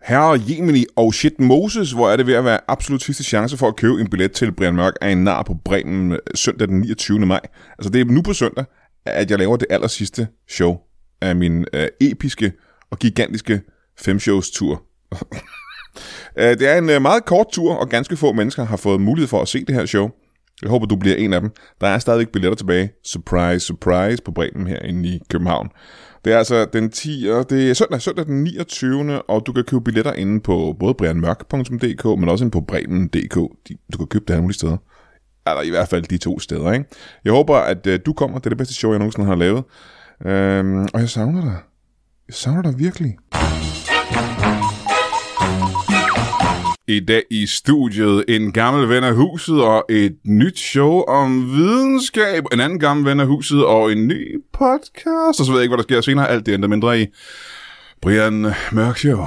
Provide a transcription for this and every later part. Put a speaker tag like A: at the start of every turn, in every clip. A: Herre Jemini og Shit Moses, hvor er det ved at være absolut sidste chance for at købe en billet til Brian Mørk af en nar på Bremen øh, søndag den 29. maj. Altså det er nu på søndag, at jeg laver det aller sidste show af min øh, episke og gigantiske femshows tur. Øh, det er en øh, meget kort tur, og ganske få mennesker har fået mulighed for at se det her show. Jeg håber, du bliver en af dem. Der er stadigvæk billetter tilbage. Surprise, surprise på Bremen herinde i København. Det er altså den 10. og Det er søndag, søndag den 29. Og du kan købe billetter inde på både brianmørk.dk, men også inde på bremen.dk. De- Du kan købe det alle mulige steder. Eller i hvert fald de to steder, ikke? Jeg håber, at øh, du kommer. Det er det bedste show, jeg nogensinde har lavet. Øhm, og jeg savner dig. Jeg savner dig virkelig. I dag i studiet en gammel ven af huset og et nyt show om videnskab, en anden gammel ven af huset og en ny podcast, og så ved jeg ikke, hvad der sker senere. Alt det endda mindre i Brian Mørk Show.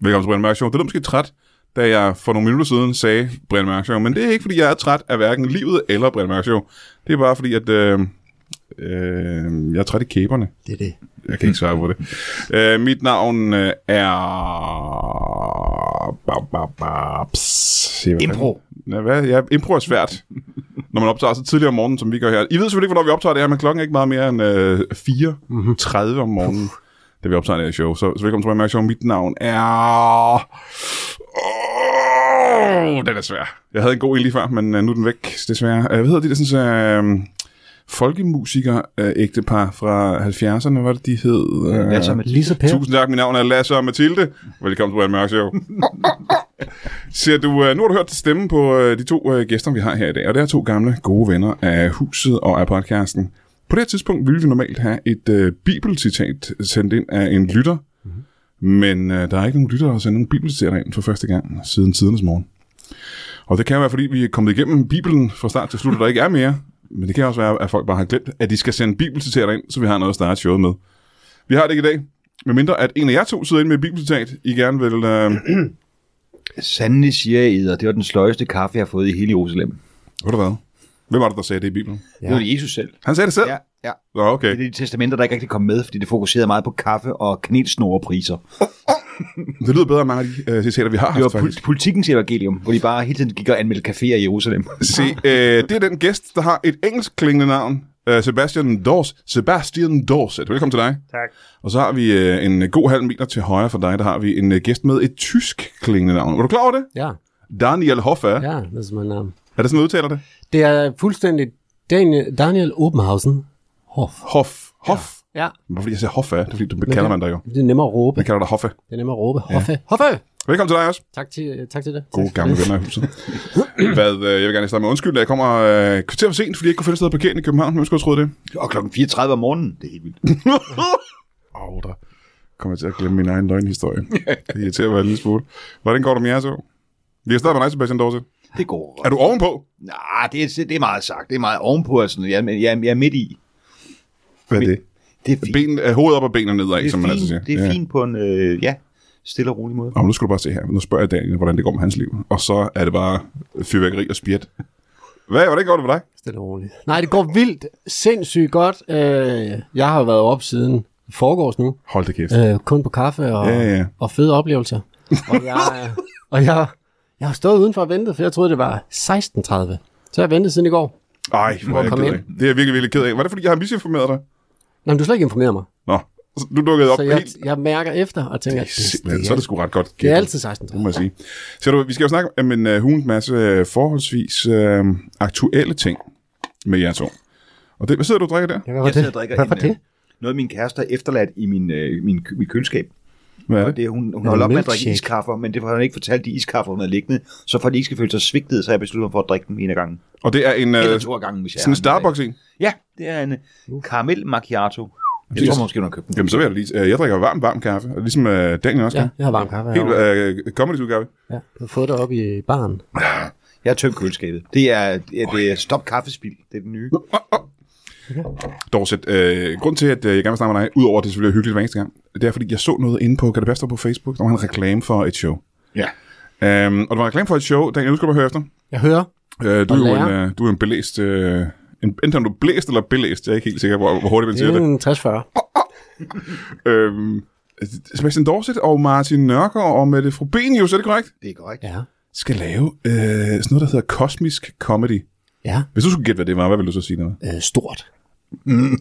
A: Velkommen til Brian Mørk Show. Det lød måske træt, da jeg for nogle minutter siden sagde Brian Mørk Show, men det er ikke, fordi jeg er træt af hverken livet eller Brian Mørk Show. Det er bare fordi, at øh, øh, jeg er træt i kæberne.
B: Det er det.
A: Jeg kan ikke svare på det. Øh, mit navn øh, er... Ba, ba, ba, ps. Se, hvad
B: Impro.
A: fanden- Ja, hvad? Ja, impro er svært, når man optager så tidligere om morgenen, som vi gør her. I ved selvfølgelig ikke, hvornår vi optager det her, men klokken er ikke meget mere end øh, 4.30 om morgenen, da vi optager det her show. Så, så velkommen til Brian Mørk Show. Mit navn er... Oh, den er svær. Jeg havde en god en lige før, men øh, nu er den væk, desværre. Øh, Hvad hedder de der sådan... Øh, folkemusiker øh, ægtepar fra 70'erne, var det de hed? Øh,
B: Hvad så med
C: Lise Per.
A: Tusind tak, mit navn er Lasse og Mathilde. Velkommen til Brian Mørk Show. Ser du, øh, nu har du hørt stemmen på øh, de to øh, gæster, vi har her i dag, og det er to gamle gode venner af huset og af podcasten. På det her tidspunkt ville vi normalt have et øh, bibelcitat sendt ind af en lytter, men øh, der er ikke nogen lytter, der har sendt nogen bibelcitater ind for første gang siden tidernes morgen. Og det kan være, fordi vi er kommet igennem Bibelen fra start til slut, og der ikke er mere. Men det kan også være, at folk bare har glemt, at de skal sende bibelcitater ind, så vi har noget at starte showet med. Vi har det ikke i dag, medmindre at en af jer to sidder inde med et bibelcitat, I gerne vil... Øh,
B: Sandelig siger jeg eder, det var den sløjeste kaffe, jeg har fået i hele Jerusalem.
A: ved du hvad? Hvem var det, der sagde det i Bibelen?
B: Ja. Det var Jesus selv.
A: Han sagde det selv?
B: Ja, ja.
A: Nå, okay.
B: Det er de testamenter, der ikke rigtig kom med, fordi det fokuserede meget på kaffe og kanelsnorepriser.
A: Det lyder bedre end mange af de øh, citater, vi har
B: Det
A: haft,
B: var
A: faktisk.
B: pol- politikens evangelium, hvor de bare hele tiden gik og anmeldte caféer i Jerusalem.
A: Se, øh, det er den gæst, der har et engelsk klingende navn. Øh, Sebastian Dors. Sebastian Dorset. Velkommen til dig.
C: Tak.
A: Og så har vi øh, en god halv meter til højre for dig, der har vi en øh, gæst med et tysk klingende navn. Var du klar over det?
C: Ja,
A: Daniel Hoffa. Ja.
C: ja, das ist mein Name.
A: Er det sådan, man udtaler det?
C: Der vollständig Daniel, Daniel Obenhausen Hoff.
A: Hoff. Hoff. Ja.
C: Ja,
A: Fordi jeg siger Hoffa, det er fordi, du kalder man dig jo.
C: det er nemmere at råbe.
A: Jeg kalder dig Hoffa.
C: Det er nemmere at råbe. Hoffe. Hoffe!
A: Velkommen til dig også.
C: Tak til, tak til det.
A: Gode
C: tak.
A: gamle venner i huset. Hvad, øh, jeg vil gerne starte med undskyld, at jeg kommer øh, kvarter for sent, fordi jeg ikke kunne finde et sted at parkere i København. Hvem skulle have troet det?
B: Og klokken 4.30 om morgenen, det er helt vildt.
A: Åh, der kommer jeg til at glemme min egen løgnhistorie. Det irriterer mig en lille smule. Hvordan går det med jer så? Vi har startet med dig, Sebastian Dorset.
B: Det går
A: Er
B: godt.
A: du ovenpå?
B: Nej, det er, det er meget sagt. Det er meget ovenpå, altså. Jeg, er- jeg, er- jeg er midt i.
A: Hvad er det?
B: Det er fint.
A: Ben, øh, hovedet op og benene nedad,
B: Det er
A: som man altid siger.
B: fint, det er fint på en, øh, ja, stille og rolig måde.
A: Og nu skal du bare se her. Nu spørger jeg Daniel, hvordan det går med hans liv. Og så er det bare fyrværkeri og spjæt. Hvad, hvordan går det med dig?
C: Stille og roligt. Nej, det går vildt sindssygt godt. Øh, jeg har jo været op siden forgårs nu.
A: Hold da kæft.
C: Øh, kun på kaffe og,
A: Ja, ja.
C: og fede oplevelser. Og jeg, øh, og jeg, jeg har stået udenfor og ventet, for jeg troede, det var 16.30. Så har jeg ventet siden i går.
A: Ej, hvor er jeg
C: kom
A: ked af.
C: ind.
A: Det er jeg virkelig, virkelig ked af. Var det, fordi jeg har misinformeret dig?
C: Nå, men du har slet ikke informeret mig.
A: Nå, så du dukkede op
C: Så jeg,
A: helt...
C: jeg mærker efter og tænker, det, det,
A: Simpelthen, så er det sgu ret godt.
C: det er
A: gættet.
C: altid
A: Det
C: 16.30.
A: må jeg sige. Så du, vi skal jo snakke om en uh, hulens masse øh, forholdsvis uh, aktuelle ting med jer to. Og det, hvad sidder du og drikker der?
C: Hvad var
B: Jeg
C: det?
B: sidder og drikker
C: Hvad var
B: en, øh,
C: det?
B: noget, min kæreste har efterladt i min, øh, min, kø- mit køleskab.
A: Hvad er
B: Og
A: det?
B: det, er, hun, hun holder op med at drikke
C: milkshake.
B: iskaffer, men det har hun ikke fortalt de iskaffer, hun havde liggende, så for at de ikke skal føle sig svigtet, så har jeg besluttet mig for at drikke dem en af gangen.
A: Og det er en,
B: Eller
A: uh,
B: to af gangen, hvis jeg
A: sådan en
B: har den
A: Starbucks en.
B: dag. Ja, det er en uh. karamel macchiato. Jeg tror måske, hun har købt den.
A: Jamen, så vil jeg da lige... Uh, jeg drikker varm, varm kaffe. og Ligesom uh, Daniel også
C: Ja,
A: ja.
C: jeg har varm kaffe
A: Helt
C: herovre.
A: uh, comedy udgave.
C: Ja, du har fået det op i baren.
B: Jeg har tømt køleskabet. Det er, det er, det er stop kaffespil. Det er den nye.
A: Dorset, øh, grund til, at øh, jeg gerne vil snakke med dig, udover at det selvfølgelig er hyggeligt hver eneste gang, det er, fordi jeg så noget inde på Katabaster på Facebook, der var en reklame for et show.
B: Ja.
A: Øhm, og der var reklame for et show, Daniel, nu skal du høre efter.
C: Jeg hører.
A: Øh, du, er jo en,
C: lærer.
A: øh, du er en belæst... Øh, en, enten om du er blæst eller belæst, jeg er ikke helt sikker, hvor, hvor hurtigt man
C: Det
A: siger
C: er
A: det.
C: en 60-40.
A: Øhm, Sebastian Dorset og Martin Nørgaard og Mette Frobenius, er det korrekt?
B: Det er korrekt.
C: Ja.
A: Skal lave øh, sådan noget, der hedder kosmisk comedy.
C: Ja.
A: Hvis du skulle gætte, hvad det var, hvad ville du så sige? Noget?
C: Øh, stort.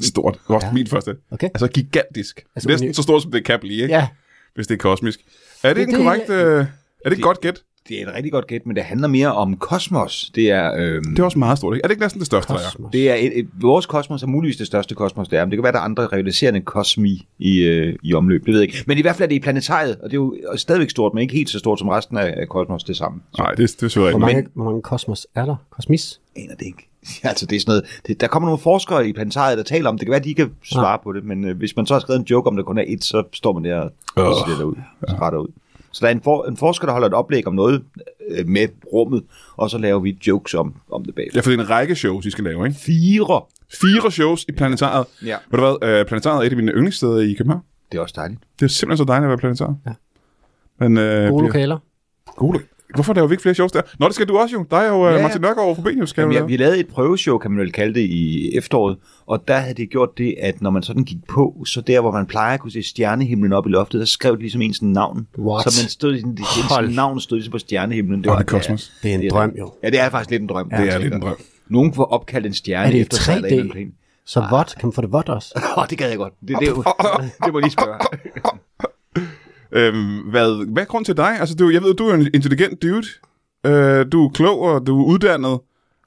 A: Stort. Det var også ja. min første.
C: Okay.
A: Altså gigantisk. Altså,
C: Altså,
A: Næsten
C: uni-
A: så stort, som det kan blive, ikke?
C: Ja. hvis
A: hvis det er kosmisk. Er det,
C: Det-
A: en
C: det-
A: korrekt... Øh, er det et godt gæt?
B: Det er et rigtig godt gæt, men det handler mere om kosmos. Det er, øhm,
A: Det er også meget stort, ikke? Er det ikke næsten det største, der er?
C: Kosmos.
B: det er et, et, vores kosmos er muligvis det største kosmos, der er. Men det kan være, der er andre rivaliserende kosmi i, øh, i omløb. Det ved jeg ikke. Men i hvert fald er det i planetariet, og det er jo stadigvæk stort, men ikke helt så stort som resten af af kosmos det samme.
A: Nej, det, det er selvfølgelig
C: Hvor
A: ikke.
C: mange, hvor mange kosmos er der? Kosmis?
B: Jeg aner det ikke. Altså, det er sådan noget, det, der kommer nogle forskere i planetariet, der taler om det. Det kan være, de ikke kan svare ja. på det, men øh, hvis man så har skrevet en joke om, der kun er et, så står man der og
A: Åh.
B: oh. ud, ja. ud. Så der er en, for, en forsker, der holder et oplæg om noget øh, med rummet, og så laver vi jokes om, om det bagefter.
A: Ja, for det er en række shows, I skal lave, ikke?
B: Fire!
A: Fire shows i Planetariet.
B: Ja.
A: Ved du hvad, øh, Planetariet er et af mine yndlingssteder i København.
B: Det er også dejligt.
A: Det er simpelthen så dejligt at være Planetariet.
C: Ja.
A: Men, øh,
C: Gode
A: bliver-
C: lokaler.
A: Gode lo- Hvorfor laver vi ikke flere shows der? Nå, det skal du også jo. Der er jo øh,
B: Ja,
A: ja,
B: ja.
A: Martin Nørgaard og Frobenius, skal
B: Jamen,
A: Jamen,
B: ja, vi
A: jeg,
B: lavede et prøveshow, kan man vel kalde det, i efteråret, og der havde det gjort det, at når man sådan gik på, så der, hvor man plejer at kunne se stjernehimlen op i loftet, der skrev de ligesom ens navn.
C: What?
B: Så man stod, ligesom-
C: Hold.
B: ens navn stod ligesom på stjernehimlen.
A: Åh, det er kosmos.
C: Det er en drøm, jo.
B: Ja, det er faktisk lidt en drøm. Altså,
A: det er lidt en drøm.
B: Nogen får opkaldt en stjerne
C: Er det i
B: efter sig,
C: 3D?
B: eller en eller anden. Ah.
C: Så vådt. Kan man få det vådt også?
B: Åh, det gad jeg godt. Det, det, er jo, det må jeg lige spørge.
A: Øhm, hvad, hvad er grunden til dig? Altså, du, jeg ved, du er en intelligent dude. Øh, du er klog, og du er uddannet.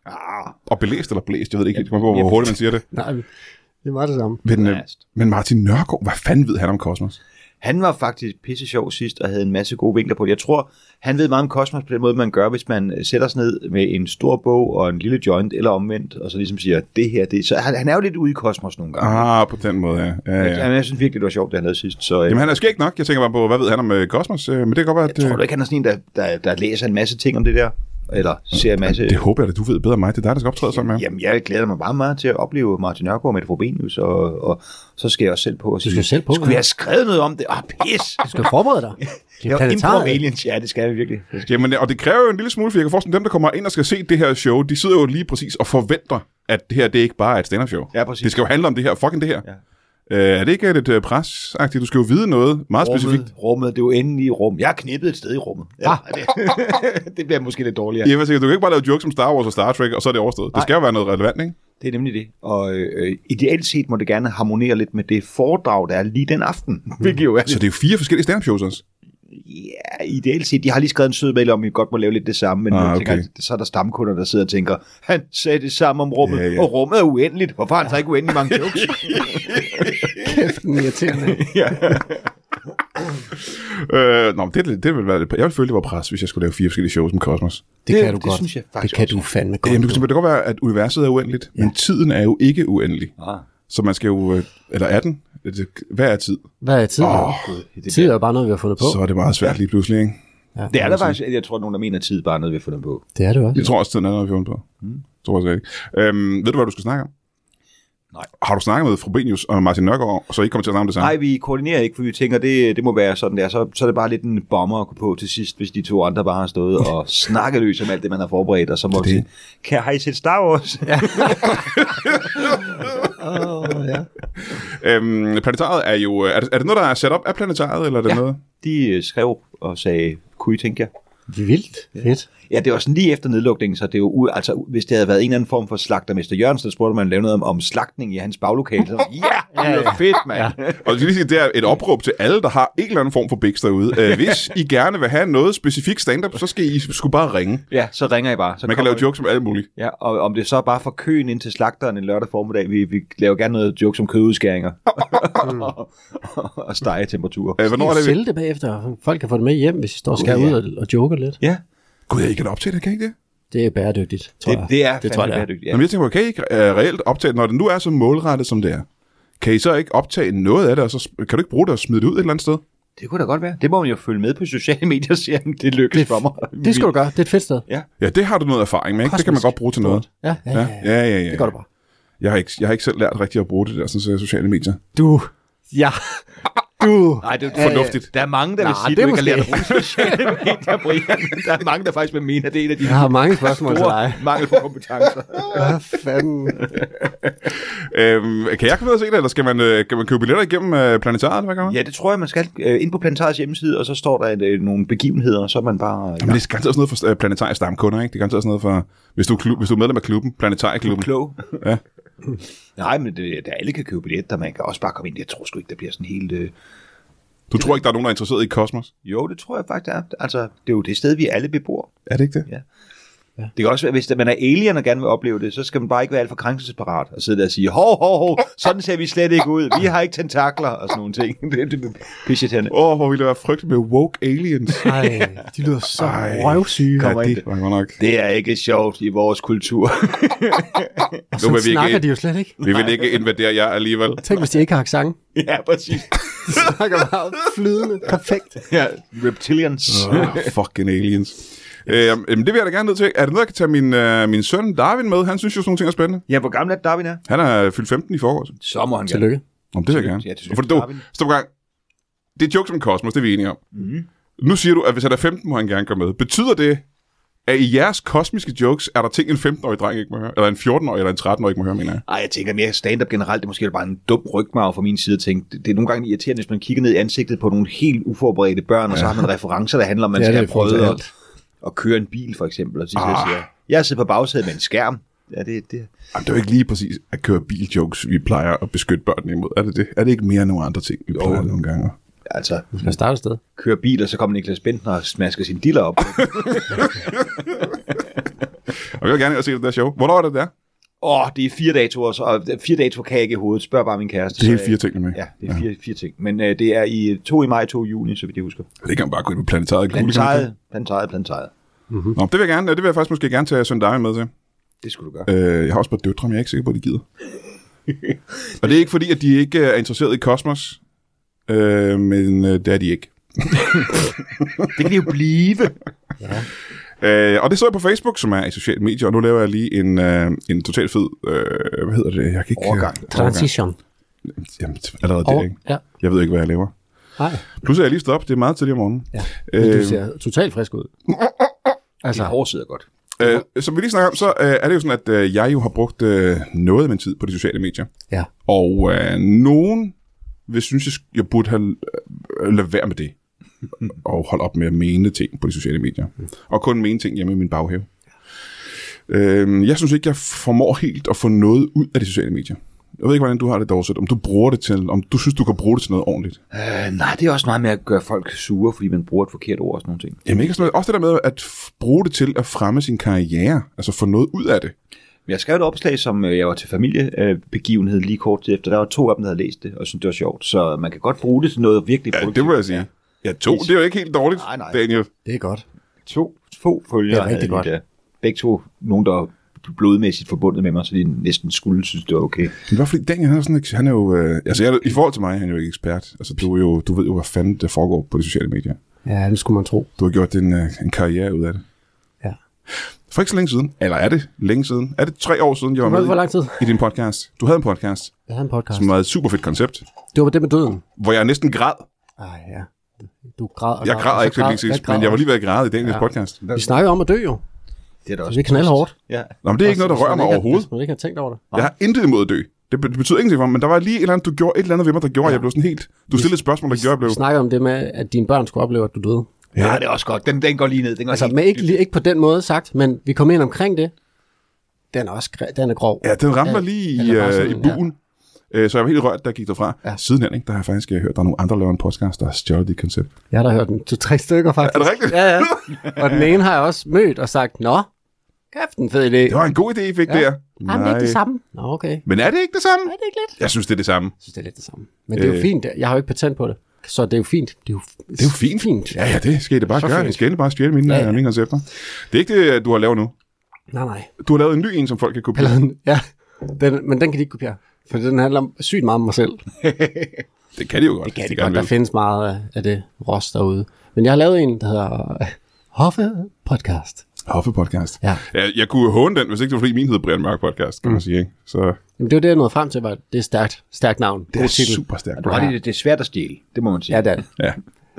B: Ah,
A: Og belæst eller blæst, jeg ved ikke helt, hvor, hvor hurtigt man siger det.
C: Nej, det er meget det samme.
A: Men, øh,
B: Blæst.
A: men Martin Nørgaard, hvad fanden ved han om kosmos?
B: Han var faktisk pisse sjov sidst og havde en masse gode vinkler på det. Jeg tror, han ved meget om kosmos på den måde, man gør, hvis man øh, sætter sig ned med en stor bog og en lille joint eller omvendt, og så ligesom siger, det her, det er-" Så han, han er jo lidt ude i kosmos nogle gange.
A: Ah, på den måde, ja. ja,
B: Ja.
A: ja.
B: Jeg, jeg synes virkelig, det var sjovt, det han lavede sidst. Så, øh,
A: Jamen, han er skægt nok. Jeg tænker bare på, hvad ved han om øh, kosmos? Øh, men det kan godt være, at...
B: jeg tror
A: Øh,
B: du ikke, han er sådan en, der, der, der læser en masse ting om det der? Eller ser en masse...
A: det håber jeg, at du ved bedre end mig. Det er dig, der skal optræde sammen med ham.
B: Jamen, jeg glæder mig bare meget til at opleve Martin Nørgaard med Frobenius, og, og så skal jeg også selv på og sige,
C: skal selv på,
B: skulle
C: ja.
B: jeg have skrevet noget om det? Åh, oh, pis!
C: Du skal forberede dig. Det er
B: Det var improv
C: planetariet.
B: aliens. Ja, det skal jeg virkelig.
A: Jamen, og det kræver jo en lille smule, for jeg kan forestille mig, dem, der kommer ind og skal se det her show, de sidder jo lige præcis og forventer, at det her, det er ikke bare er et stand-up show.
B: Ja, præcis.
A: Det skal jo handle om det her, fucking det her. Ja. Øh, er det ikke lidt øh, presagtigt? Du skal jo vide noget meget specifikt.
B: Rummet, rummet, det er jo inde i rum. Jeg er knippet et sted i rummet. Ja,
C: Ah.
B: det, det bliver måske lidt dårligere.
A: Ja. Jeg vil sige, du kan ikke bare lave jokes om Star Wars og Star Trek, og så er det overstået. Det skal jo være noget relevant, ikke?
B: Det er nemlig det. Og øh, øh, ideelt set må det gerne harmonere lidt med det foredrag, der er lige den aften. Hvilket jo er
A: Så det er jo fire forskellige stand-up shows også.
B: Ja, ideelt set. De har lige skrevet en sød mail om, at I godt må lave lidt det samme, men
A: Ah,
B: ah, okay.
A: okay.
B: tænker, så er der stamkunder, der sidder og tænker, han sagde det samme om rummet,
A: Ja,
B: ja,
A: ja. Ah,
B: ja. og rummet er uendeligt. Hvorfor har han så ikke uendelig mange jokes?
C: Kæft, den er irriterende.
A: Øh, nå, men det, det vil være lidt... Jeg ville føle, det var pres, hvis jeg skulle lave fire forskellige shows om kosmos.
C: Det,
B: Det-
C: kan du
B: det
C: godt.
B: synes jeg
C: det
B: faktisk
C: kan
B: også.
C: du fandme godt.
A: Jamen, du kan simpelthen det kan godt være, at universet er uendeligt, ja. men tiden er jo ikke uendelig.
B: Ah.
A: Så man skal jo... øh, Eller er den? Er det- Hvad er tid?
C: Hvad er tid?
A: Åh,
B: det,
C: Tid er jo bare noget, vi har fundet på.
A: Så er det meget svært lige pludselig, ikke?
C: Ja,
B: det er der faktisk, jeg tror, nogen der mener, at tid bare er noget, vi har fundet på.
C: Det er det også.
A: Jeg tror også, tiden er noget, vi har fundet på. Mm. Tror jeg ikke. Øhm, ved du, hvad du skal snakke om?
B: Nej.
A: Har du snakket med Frobenius og Martin Nørgaard, så I ikke kommer til at snakke om det samme?
B: Nej, vi koordinerer ikke, for vi tænker, det, det må være sådan der. Så, så er det bare lidt en bomber at gå på til sidst, hvis de to andre bare har stået og snakket løs om alt det, man har forberedt. Og så må vi sige, kan, har I set Star Wars? Ja.
C: Oh, ja.
A: Øhm, planetariet er jo... Er det, er det noget, der er sat op af planetariet, eller er det ja. noget?
B: De øh, skrev og sagde, kunne I tænke jer?
C: Vildt fedt.
B: Ja, det var sådan lige efter nedlukningen, så det er jo, u- altså, hvis det havde været en eller anden form for slagtermester Jørgensen, så spurgte man, lave noget om, om slagtning i hans baglokale. Så, ja, det
C: ja.
B: er fedt, mand. Ja.
A: Og jeg skal lige sige, det er et opråb til alle, der har en eller anden form for biks derude. Øh, hvis I gerne vil have noget specifikt stand-up, så skal I sgu bare ringe.
B: ja, så ringer I bare. Så
A: Man kan
B: kommer
A: lave
B: vi.
A: jokes om alt muligt.
B: Ja, og om det så er bare for køen ind til slagteren en lørdag formiddag, vi, vi laver gerne noget jokes om kødudskæringer og, og stegetemperaturer.
A: Øh, hvornår er
C: Skal I
A: det, vi...
C: sælge det bagefter? Folk kan få det med hjem, hvis de står og skærer ud og, og joker lidt.
B: Ja,
A: Gud, jeg ikke kan optage det, kan I ikke det?
C: Det er bæredygtigt, tror
B: det,
C: jeg.
B: det er
C: det tror jeg, det er.
B: bæredygtigt.
A: Ja.
B: Ja.
A: Jamen, jeg tænker på, kan I ikke øh, reelt optage, når det nu er så målrettet, som det er? Kan I så ikke optage noget af det, og så sp- kan du ikke bruge det og smide det ud et eller andet sted?
B: Det kunne da godt være. Det må man jo følge med på sociale medier og se, om det lykkes for mig.
C: Det skal du gøre. Det er et fedt sted.
B: Ja.
A: Ja, det har du noget erfaring med, ikke? Det kan man
C: Kosmisk
A: godt bruge til noget.
C: Ja, ja, ja.
A: Ja,
C: ja.
A: ja, ja. ja.
C: Det gør du bare.
A: Jeg har, ikke, jeg har ikke selv lært rigtigt at bruge det der sådan, så sociale medier.
C: Du, ja, du du.
B: Nej, det er
A: Fornuftigt.
B: Der er mange, der vil
C: Nej,
B: sige, at
C: det
B: du
C: er
B: ikke har lært at
C: måske-
B: bruge sociale medier, Brian. Der er mange, der faktisk vil mene, at det er en af de
C: Jeg har mange spørgsmål til dig.
B: store mangel på kompetencer.
C: Hvad fanden?
A: Øhm, kan jeg komme ned og se det, eller skal man, øh, kan man købe billetter igennem øh, Planetariet? Hvad gør man?
B: Ja, det tror jeg, man skal. Øh, Ind på Planetariets hjemmeside, og så står der øh, nogle begivenheder, og så er man bare...
A: Jamen, det er garanteret sådan noget for øh, planetariske stamkunder, ikke? Det er garanteret sådan noget for, hvis du, er klub, hvis du er medlem af klubben, planetarieklubben.
B: klog.
A: Ja.
B: Nej, men det, der alle kan købe billetter, man kan også bare komme ind. Jeg tror sgu ikke, der bliver sådan helt... Øh...
A: Du tror ikke, der er nogen, der er interesseret i Cosmos?
B: Jo, det tror jeg faktisk, der er. Altså, det er jo det sted, vi alle bebor.
A: Er det ikke det?
B: Ja. Det kan også være, hvis man er alien og gerne vil opleve det, så skal man bare ikke være alt for krænkelsesparat og sidde der og sige, hov, hov, hov, sådan ser vi slet ikke ud. Vi har ikke tentakler og sådan nogle ting. det, det, det pissetændende.
A: Åh, oh, hvor ville det være frygteligt med woke aliens.
C: Nej, de lyder så
A: Ej.
C: røvsyge.
B: Kommer
A: ja,
B: ind.
A: det var godt nok.
B: Det er ikke sjovt i vores kultur.
C: Og
A: Nu
C: så
A: vil vi ikke-
C: snakker de jo slet ikke.
A: Vi vil ikke invadere jer alligevel.
C: Tænk, hvis de ikke har accent.
B: ja, præcis.
C: De snakker bare flydende. Perfekt.
B: Ja, reptilians.
A: Oh, fucking aliens. Øhm, øhm, det vil jeg da gerne ned til. Er det noget, jeg kan tage min, øh, min søn Darwin med? Han synes jo, sådan nogle ting er spændende.
B: Ja, hvor gammel er Darwin er?
A: Han er fyldt 15 i forgårs.
B: Så må han gerne.
C: Tillykke.
A: Om det vil jeg
B: Tillykke-
A: gerne.
B: ja, tillykke,
A: For det, du,
B: Darwin.
A: stop gang. Det er jokes om kosmos, det er vi enige om. Mm. Nu siger du, at hvis han er 15, må han gerne komme med. Betyder det, at i jeres kosmiske jokes, er der ting, en 15-årig dreng ikke må høre? Eller en 14-årig eller en 13-årig ikke må høre, mener jeg.
B: Ej, jeg tænker mere stand-up generelt, det er måske bare en dum rygmarv fra min side at tænke, det, det er nogle gange irriterende, hvis man kigger ned i ansigtet på nogle helt uforberedte børn, og så har man referencer, der handler om, at man
C: Ja,
B: skal
C: det er i
B: have
C: forhold til
B: prøvet at,
C: alt.
B: at køre en bil, for eksempel, og så siger,
A: Ah.
B: ah. jeg sidder på bagsædet med en skærm. Ja, det, det.
A: Jamen, det er jo ikke lige præcis at køre biljokes, vi plejer at beskytte børnene imod. Er det det? Er det ikke mere end nogle andre ting, vi plejer nogle gange?
B: Altså,
C: Du skal starte et sted.
B: køre bil, og så kommer Niklas Bentner og smasker sin diller op.
A: Og jeg vil gerne ind og se det der show. Hvornår er det der?
B: Åh, oh, det er fire datoer, så, og fire datoer kan jeg ikke i hovedet. Spørg bare min kæreste.
A: Det er
B: så,
A: hele
B: øh,
A: fire ting, med.
B: Ja, det er fire, fire ting. Men øh, det er i to i maj, to i juni, så vidt jeg husker.
A: Det kan man bare gå ind på planetariet. og google, kan man ikke
B: Plantejet, plantejet, plantejet.
A: det? Nå, det vil jeg gerne. Det vil jeg faktisk måske gerne tage Søren Darwin med til.
B: Det skulle du gøre.
A: Øh, jeg har også bare døtre, men jeg er ikke sikker på, at de gider. og det er ikke fordi, at de ikke øh, er interesseret i kosmos, øh, men øh, det er de ikke.
B: Det kan det jo blive.
A: Øh, og det så jeg på Facebook, som er i sociale medier, og nu laver jeg lige en, øh, en totalt fed, øh, hvad hedder det, jeg kan ikke...
B: Overgang.
C: Transition.
A: Jamen, allerede
C: Og,
A: det, ikke?
C: ja.
A: Jeg ved ikke, hvad jeg laver.
C: Nej,
A: Plus er jeg lige stået op, det er meget tidligt om morgenen.
C: Ja. men
A: Øh,
C: du ser totalt frisk ud. Altså,
B: Det hårdt sidder godt.
A: øh, som vi lige snakker om, så øh, er det jo sådan, at øh, jeg jo har brugt øh, noget af min tid på de sociale medier.
C: ja.
A: Og øh, nogen vil synes, jeg, sk- jeg burde have øh, lade være med det. Og holde op med at mene ting på de sociale medier. Og kun mene ting hjemme i min baghave. Øh, jeg synes ikke, jeg formår helt at få noget ud af de sociale medier. Jeg ved ikke, hvordan du har det, Dorset. Om du bruger det til, om du synes, du kan bruge det til noget ordentligt.
B: Øh, nej, det er også meget med at gøre folk sure, fordi man bruger et forkert ord og sådan nogle ting.
A: Jamen ikke sådan noget. Også det der med at f- bruge det til at fremme sin karriere. Altså få noget ud af det.
B: Men Jeg skrev et opslag, som øh, jeg var til familiebegivenhed lige kort tid efter. Der var to af dem, der havde læst det og syntes, det var sjovt. Så man kan godt bruge det til noget virkelig
A: Ja, det må jeg sige. Ja, to. Det er jo ikke helt dårligt,
B: Nej, nej.
A: Daniel.
C: Det er godt.
B: To, to følgere
C: Det er rigtig
B: havde de
C: godt.
B: der. Begge to, nogen der var blodmæssigt forbundet med mig, så de næsten skulle synes, det var okay.
A: Men bare fordi Daniel, han er, sådan, han er jo... Øh, altså, jeg, er- i forhold til mig, han er jo ikke ekspert. Altså, du, er jo, du ved jo, hvad fanden der foregår på de sociale medier.
C: Ja, det skulle man tro.
A: Du har gjort en, øh, en karriere ud af det.
C: Ja.
A: For ikke så længe siden, eller er det længe siden? Er det tre år siden, jeg var
C: Hvor,
A: med
C: hvor lang tid?
A: i din podcast? Du havde en podcast,
C: Jeg havde en podcast.
A: som var et super fedt koncept,
C: Det var det med døden.
A: hvor jeg næsten græd.
C: Ej, ja. Du græd og
A: Jeg
C: græd,
A: græder
C: og så
A: ikke, skal jeg lige sige, men jeg var lige ved at græde i Daniels
C: Ja.
A: podcast.
C: Vi snakker om at dø jo.
B: Det er da
C: Det er knaldhårdt.
B: Ja.
A: Nå, men det er ikke noget, der rører mig overhovedet.
C: Hvis man ikke har tænkt over det.
A: Jeg har intet imod at dø. Det be- det betyder ingenting for mig, men der var lige et eller andet, du gjorde et eller andet ved mig, der gjorde, at jeg blev sådan helt... Du stillede et spørgsmål, der gjorde, at jeg blev...
C: Vi snakker om det med, at dine børn skulle opleve, at du døde.
B: Ja. ja, det er også godt. Den, den går lige ned. Den går
C: Altså,
B: helt
C: men ikke,
B: dybt.
C: lige- ikke på den måde sagt, men vi kom ind omkring det. Den er også gre- den er grov.
A: Ja, den ramte mig lige i,
C: den var
A: øh, i
C: sådan,
A: buen. Øh, så jeg var helt rørt, der gik derfra. Ja.
C: Ja.
A: Sidenhen, ikke, der har jeg faktisk øh, hørt, der er nogle andre, der laver en podcast, der har stjålet det koncept.
C: Jeg har da hørt den to-tre stykker, faktisk.
A: Er det rigtigt?
C: Ja, ja. Og den ene har jeg også mødt og sagt, Nå, kæft en fed idé.
A: Det var en god idé, I fik ja.
C: Ja.
A: der.
C: Jamen, det er ikke det samme. Nå, okay.
A: Men er det ikke det samme?
C: Er det ikke lidt?
A: Jeg synes, det er det samme.
C: Jeg synes, det er lidt det samme. Men det er jo
A: Øh.
C: fint. Jeg har jo ikke patent på det. Så det er jo fint. Det er jo,
A: Det er jo fint.
C: fint.
A: Ja, ja, det skal I da bare
C: Så
A: gøre.
C: fint.
A: I skal endelig bare stjæle mine, ja,
C: Ja,
A: ja.
C: ja.
A: mine koncepter. Det er ikke det, øh, du har lavet nu.
C: Nej, nej.
A: Du har lavet en ny en, som folk kan kopiere.
C: Eller, en- ja, den, men den kan de ikke kopiere. For den handler om- sygt meget om mig selv.
A: Det kan de jo godt. Det
C: Ja, det er godt. Der findes meget af- af det ros derude. Men jeg har lavet en, der hedder øh, Hoffe Podcast.
A: Hoffe podcast.
C: Ja.
A: Jeg, jeg kunne håne den, hvis ikke det var fordi min hed Brian Mørk podcast, kan man sige. Ikke? Så
C: Jamen, det var det, jeg nåede frem til, var det er et stærkt, stærkt navn.
A: Det er super stærkt.
B: Og det, det er svært at stjæle, det må man sige.
C: Ja, det er det.
A: Ja.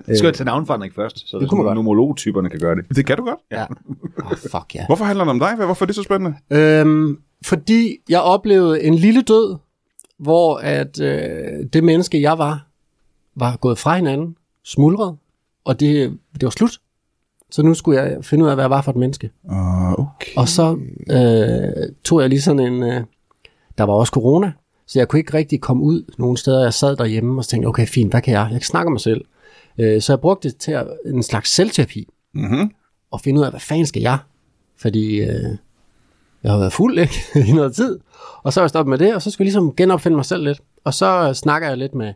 B: det skal tage navnforandring først, så det
C: kunne man godt.
B: nomologtyperne kan gøre det.
A: Det kan du godt.
C: Ja. Åh, oh, fuck ja.
A: Hvorfor handler det om dig? Hvad- Hvorfor er det så spændende?
C: Øhm, fordi jeg oplevede en lille død, hvor at øh, det menneske, jeg var, var gået fra hinanden, smuldret, og det, det var slut. Så nu skulle jeg finde ud af, hvad jeg var for et menneske. Ah,
A: Uh, okay.
C: Og så øh, tog jeg lige sådan en... Øh, der var også corona, så jeg kunne ikke rigtig komme ud nogen steder. Jeg sad derhjemme og så tænkte, okay, fint, hvad kan jeg? Jeg kan snakke om mig selv. Øh, så jeg brugte det til at, en slags selvterapi.
A: Mm-hmm.
C: Og finde ud af, hvad fanden skal jeg? Fordi øh, jeg har været fuld ikke? i noget tid. Og så er jeg stoppet med det, og så skulle jeg ligesom genopfinde mig selv lidt. Og så øh, snakker jeg lidt med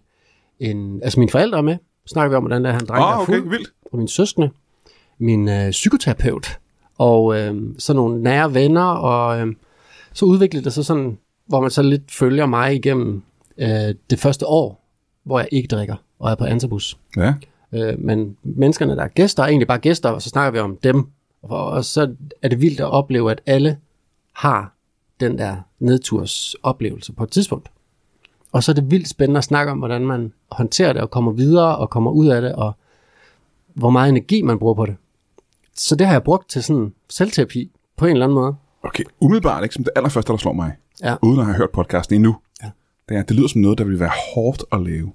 C: en, altså mine forældre er med. Så snakker vi om, hvordan det er, han dreng,
A: Ah,
C: der er
A: okay,
C: fuld
A: vildt.
C: og mine søskende, min øh, psykoterapeut og øh, sådan nogle nære venner, og øh, så udviklede det sig sådan, hvor man så lidt følger mig igennem øh, det første år, hvor jeg ikke drikker og er på antabus.
A: Ja.
C: Øh, men menneskerne, der er gæster, er egentlig bare gæster, og så snakker vi om dem. Og, og så er det vildt at opleve, at alle har den der nedtursoplevelse på et tidspunkt. Og så er det vildt spændende at snakke om, hvordan man håndterer det, og kommer videre, og kommer ud af det, og hvor meget energi man bruger på det. Så det har jeg brugt til sådan selvterapi, på en eller anden måde.
A: Okay, umiddelbart ikke som det allerførste, der slår mig,
C: Ja.
A: uden at have hørt podcasten endnu, ja. det, er, det lyder som noget, der vil være hårdt at lave.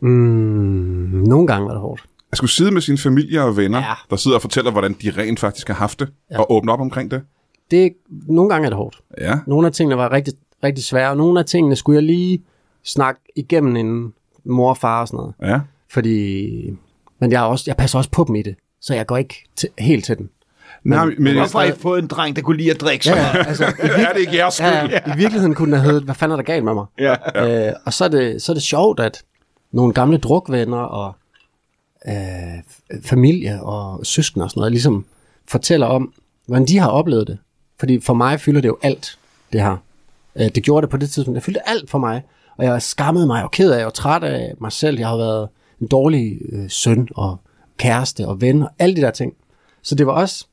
C: Mm, nogle gange var det hårdt.
A: At skulle sidde med sine familier og venner, ja.
C: Ja.
A: der sidder og fortæller, hvordan de rent faktisk har haft det, ja. og åbne op omkring det.
C: Det, nogle gange er det hårdt.
A: Ja,
C: Nogle af tingene var rigtig, rigtig svære, og nogle af tingene skulle jeg lige snakke igennem inden mor og far og sådan noget.
A: ja.
C: Fordi, men jeg, er også, jeg passer også på dem i det, så jeg går ikke til, helt til den.
A: Nej, men, men
B: Hvorfor har I fået en dreng, der kunne lide at drikke så meget?
C: altså, i,
A: er det ikke jeres skyld?
C: ja, ja, i virkeligheden kunne den have heddet, hvad fanden er der galt med mig?
B: Ja.
C: Øh, og så er, det, så er det sjovt, at nogle gamle drukvenner og øh, familie og søskende og sådan noget, ligesom fortæller om, hvordan de har oplevet det. Fordi for mig fylder det jo alt, det her. Øh, det gjorde det på det tidspunkt. Det fyldte alt for mig. Og jeg skammede mig og ked af og træt af mig selv. Jeg har været en dårlig øh, søn og kæreste og ven og alle de der ting. Så det var også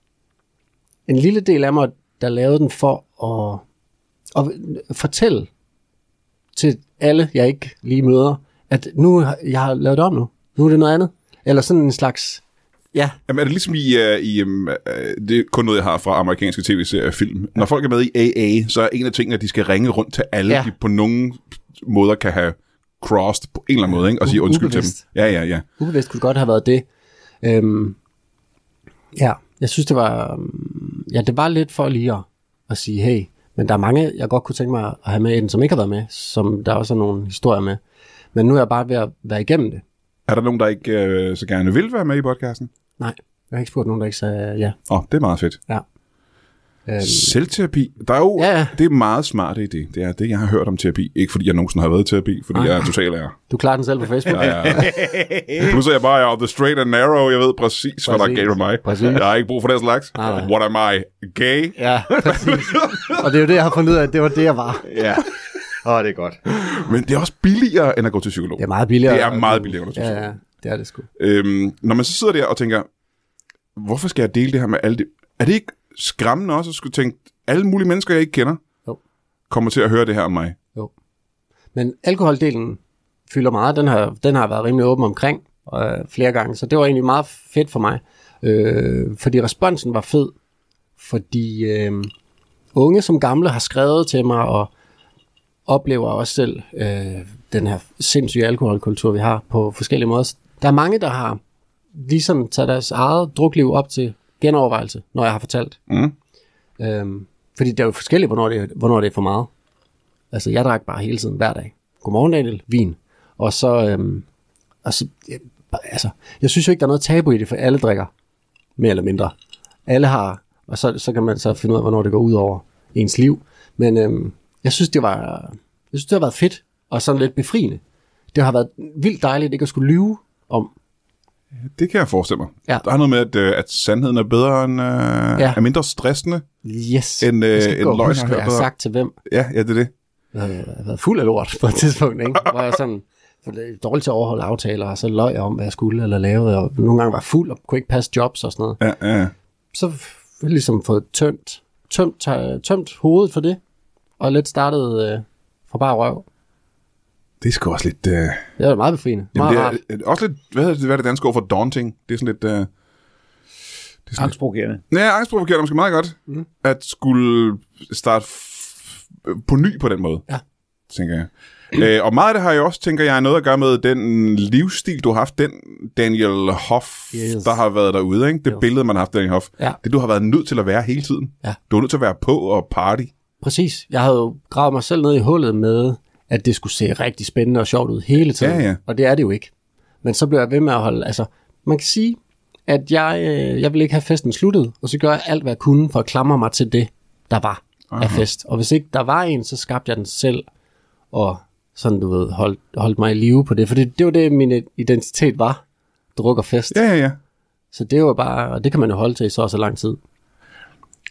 C: en lille del af mig, der lavede den for at, at fortælle til alle, jeg ikke lige møder, at nu har- jeg har lavet det om nu. Nu er det noget andet. Eller sådan en slags... Ja,
A: Jamen, er det ligesom i, uh, i um, uh, det er kun noget, jeg har fra amerikanske tv-serier og film. Når folk er med i AA, så er en af tingene, at de skal ringe rundt til alle, ja.
C: Ja.
A: de på nogen måder kan have crossed på en eller anden måde, ikke? og sige
C: U-
A: undskyld til
C: ubevidst.
A: dem. Ja, ja, ja.
C: ubevidst kunne det godt have været det. Øhm, ja, jeg synes, det var... øhm, Ja, det var lidt for lige at, at sige, hey, men der er mange, jeg godt kunne tænke mig at have med i den, som ikke har været med, som der også er nogle historier med. Men nu er jeg bare ved at være igennem det.
A: Er der nogen, der ikke uh, så gerne vil være med i podcasten?
C: Nej, jeg har ikke spurgt nogen, der ikke sagde ja.
A: Åh, oh, det er meget fedt.
C: ja. Øhm,
A: Selvterapi, der er jo,
C: Ja, ja.
A: det er meget smart idé. Det er det, jeg har hørt om terapi. Ikke fordi jeg nogensinde har været i terapi, fordi jeg er total er.
C: du klarer den selv på Facebook. Ja, ja.
A: Nu ser jeg bare, jeg er on the straight and narrow. Jeg ved præcis, præcis. hvad der er
C: Præcis.
A: galt med mig.
C: Præcis.
A: Jeg har ikke brug for den slags.
C: Nej, nej.
A: What am I? Gay?
C: ja præcis. Og det er jo det, jeg har fundet ud af, at det var det, jeg var.
B: ja. Åh, oh, det er godt.
A: Men det er også billigere, end at gå til psykolog.
C: Det er meget billigere.
A: Det er meget billigere, end at gå til
C: Ja,
A: psykolog.
C: ja, det er det sgu.
A: Øhm, når man så sidder der og tænker, hvorfor skal jeg dele det her med alle det? Er det ikke skræmmende også at skulle tænke, alle mulige mennesker, jeg ikke kender,
C: Jo.
A: kommer til at høre det her om mig?
C: Jo. Men alkoholdelen fylder meget. Den har, den har jeg været rimelig åben omkring øh, flere gange, så det var egentlig meget fedt for mig. Øh, fordi responsen var fed. Fordi øh, unge som gamle har skrevet til mig og oplever også selv øh, den her sindssyge alkoholkultur, vi har på forskellige måder. Der er mange, der har ligesom taget deres eget drukliv op til genovervejelse, når jeg har fortalt.
A: Mm.
C: Øhm, fordi der er jo forskelligt, hvornår det, hvornår det er for meget. Altså, jeg drak bare hele tiden, hver dag. Godmorgen, Daniel. Vin. Og så, øhm, og så jeg, altså, jeg synes jo ikke, der er noget tabu i det, for alle drikker. Mere eller mindre. Alle har, og så, så kan man så finde ud af, hvornår det går ud over ens liv. Men øhm, jeg synes, det var, jeg synes, det har været fedt, og sådan lidt befriende. Det har været vildt dejligt ikke at skulle lyve om.
A: Det kan jeg forestille mig.
C: Ja.
A: Der er noget med, at, øh, at sandheden er bedre end, øh, ja. er mindre stressende.
C: Yes.
A: En, øh,
C: jeg skal
A: en
C: ikke gå og
A: løgn
C: huske,
A: har
C: hvad jeg
A: hørt
C: har sagt til hvem.
A: Ja, ja det er det.
C: Jeg har jeg har været fuld af lort på et tidspunkt, ikke? hvor jeg sådan var lidt dårlig til at overholde aftaler, og så løg jeg om, hvad jeg skulle eller lavede, og nogle gange var fuld og kunne ikke passe jobs og sådan noget.
A: Ja, ja.
C: Så f- ligesom fået tømt, tømt, øh, tømt hovedet for det, og lidt startede øh, fra bare røv.
A: Det er sgu også lidt... Øh,
C: Det var da meget befriende.
A: jamen,
C: Meget
A: det
C: rart.
A: er, øh, også lidt... Hvad, hedder det, hvad er det danske ord for daunting? Det er sådan lidt... Øh,
B: Angstprovokerende.
A: ja, angstprovokerende er måske meget godt. Mm. At skulle starte f- på ny på den måde.
C: Ja.
A: Tænker jeg. Øh, og meget af det har jo også, tænker jeg, noget at gøre med den livsstil, du har haft. Den Daniel Hoff,
C: Yes.
A: der har været derude. Ikke? Det
C: Jo.
A: billede, man har haft af Daniel Hoff.
C: Ja.
A: Det, du har været nødt til at være hele tiden.
C: Ja.
A: Du er nødt til at være på og party.
C: Præcis. Jeg havde jo gravet mig selv ned i hullet med, at det skulle se rigtig spændende og sjovt ud hele tiden.
A: Ja, ja.
C: Og det er det jo ikke. Men så blev jeg ved med at holde... Altså, man kan sige, at jeg, øh, jeg ville ikke have festen sluttet, og så gør jeg alt, hvad jeg kunne for at klamre mig til det, der var Aha. af fest. Og hvis ikke der var en, så skabte jeg den selv, og sådan, du ved, holdt, holdt mig i live på det. For det, det var det, min identitet var. Druk og fest.
A: Ja, ja, ja.
C: Så det var bare... Og det kan man jo holde til i så og så lang tid.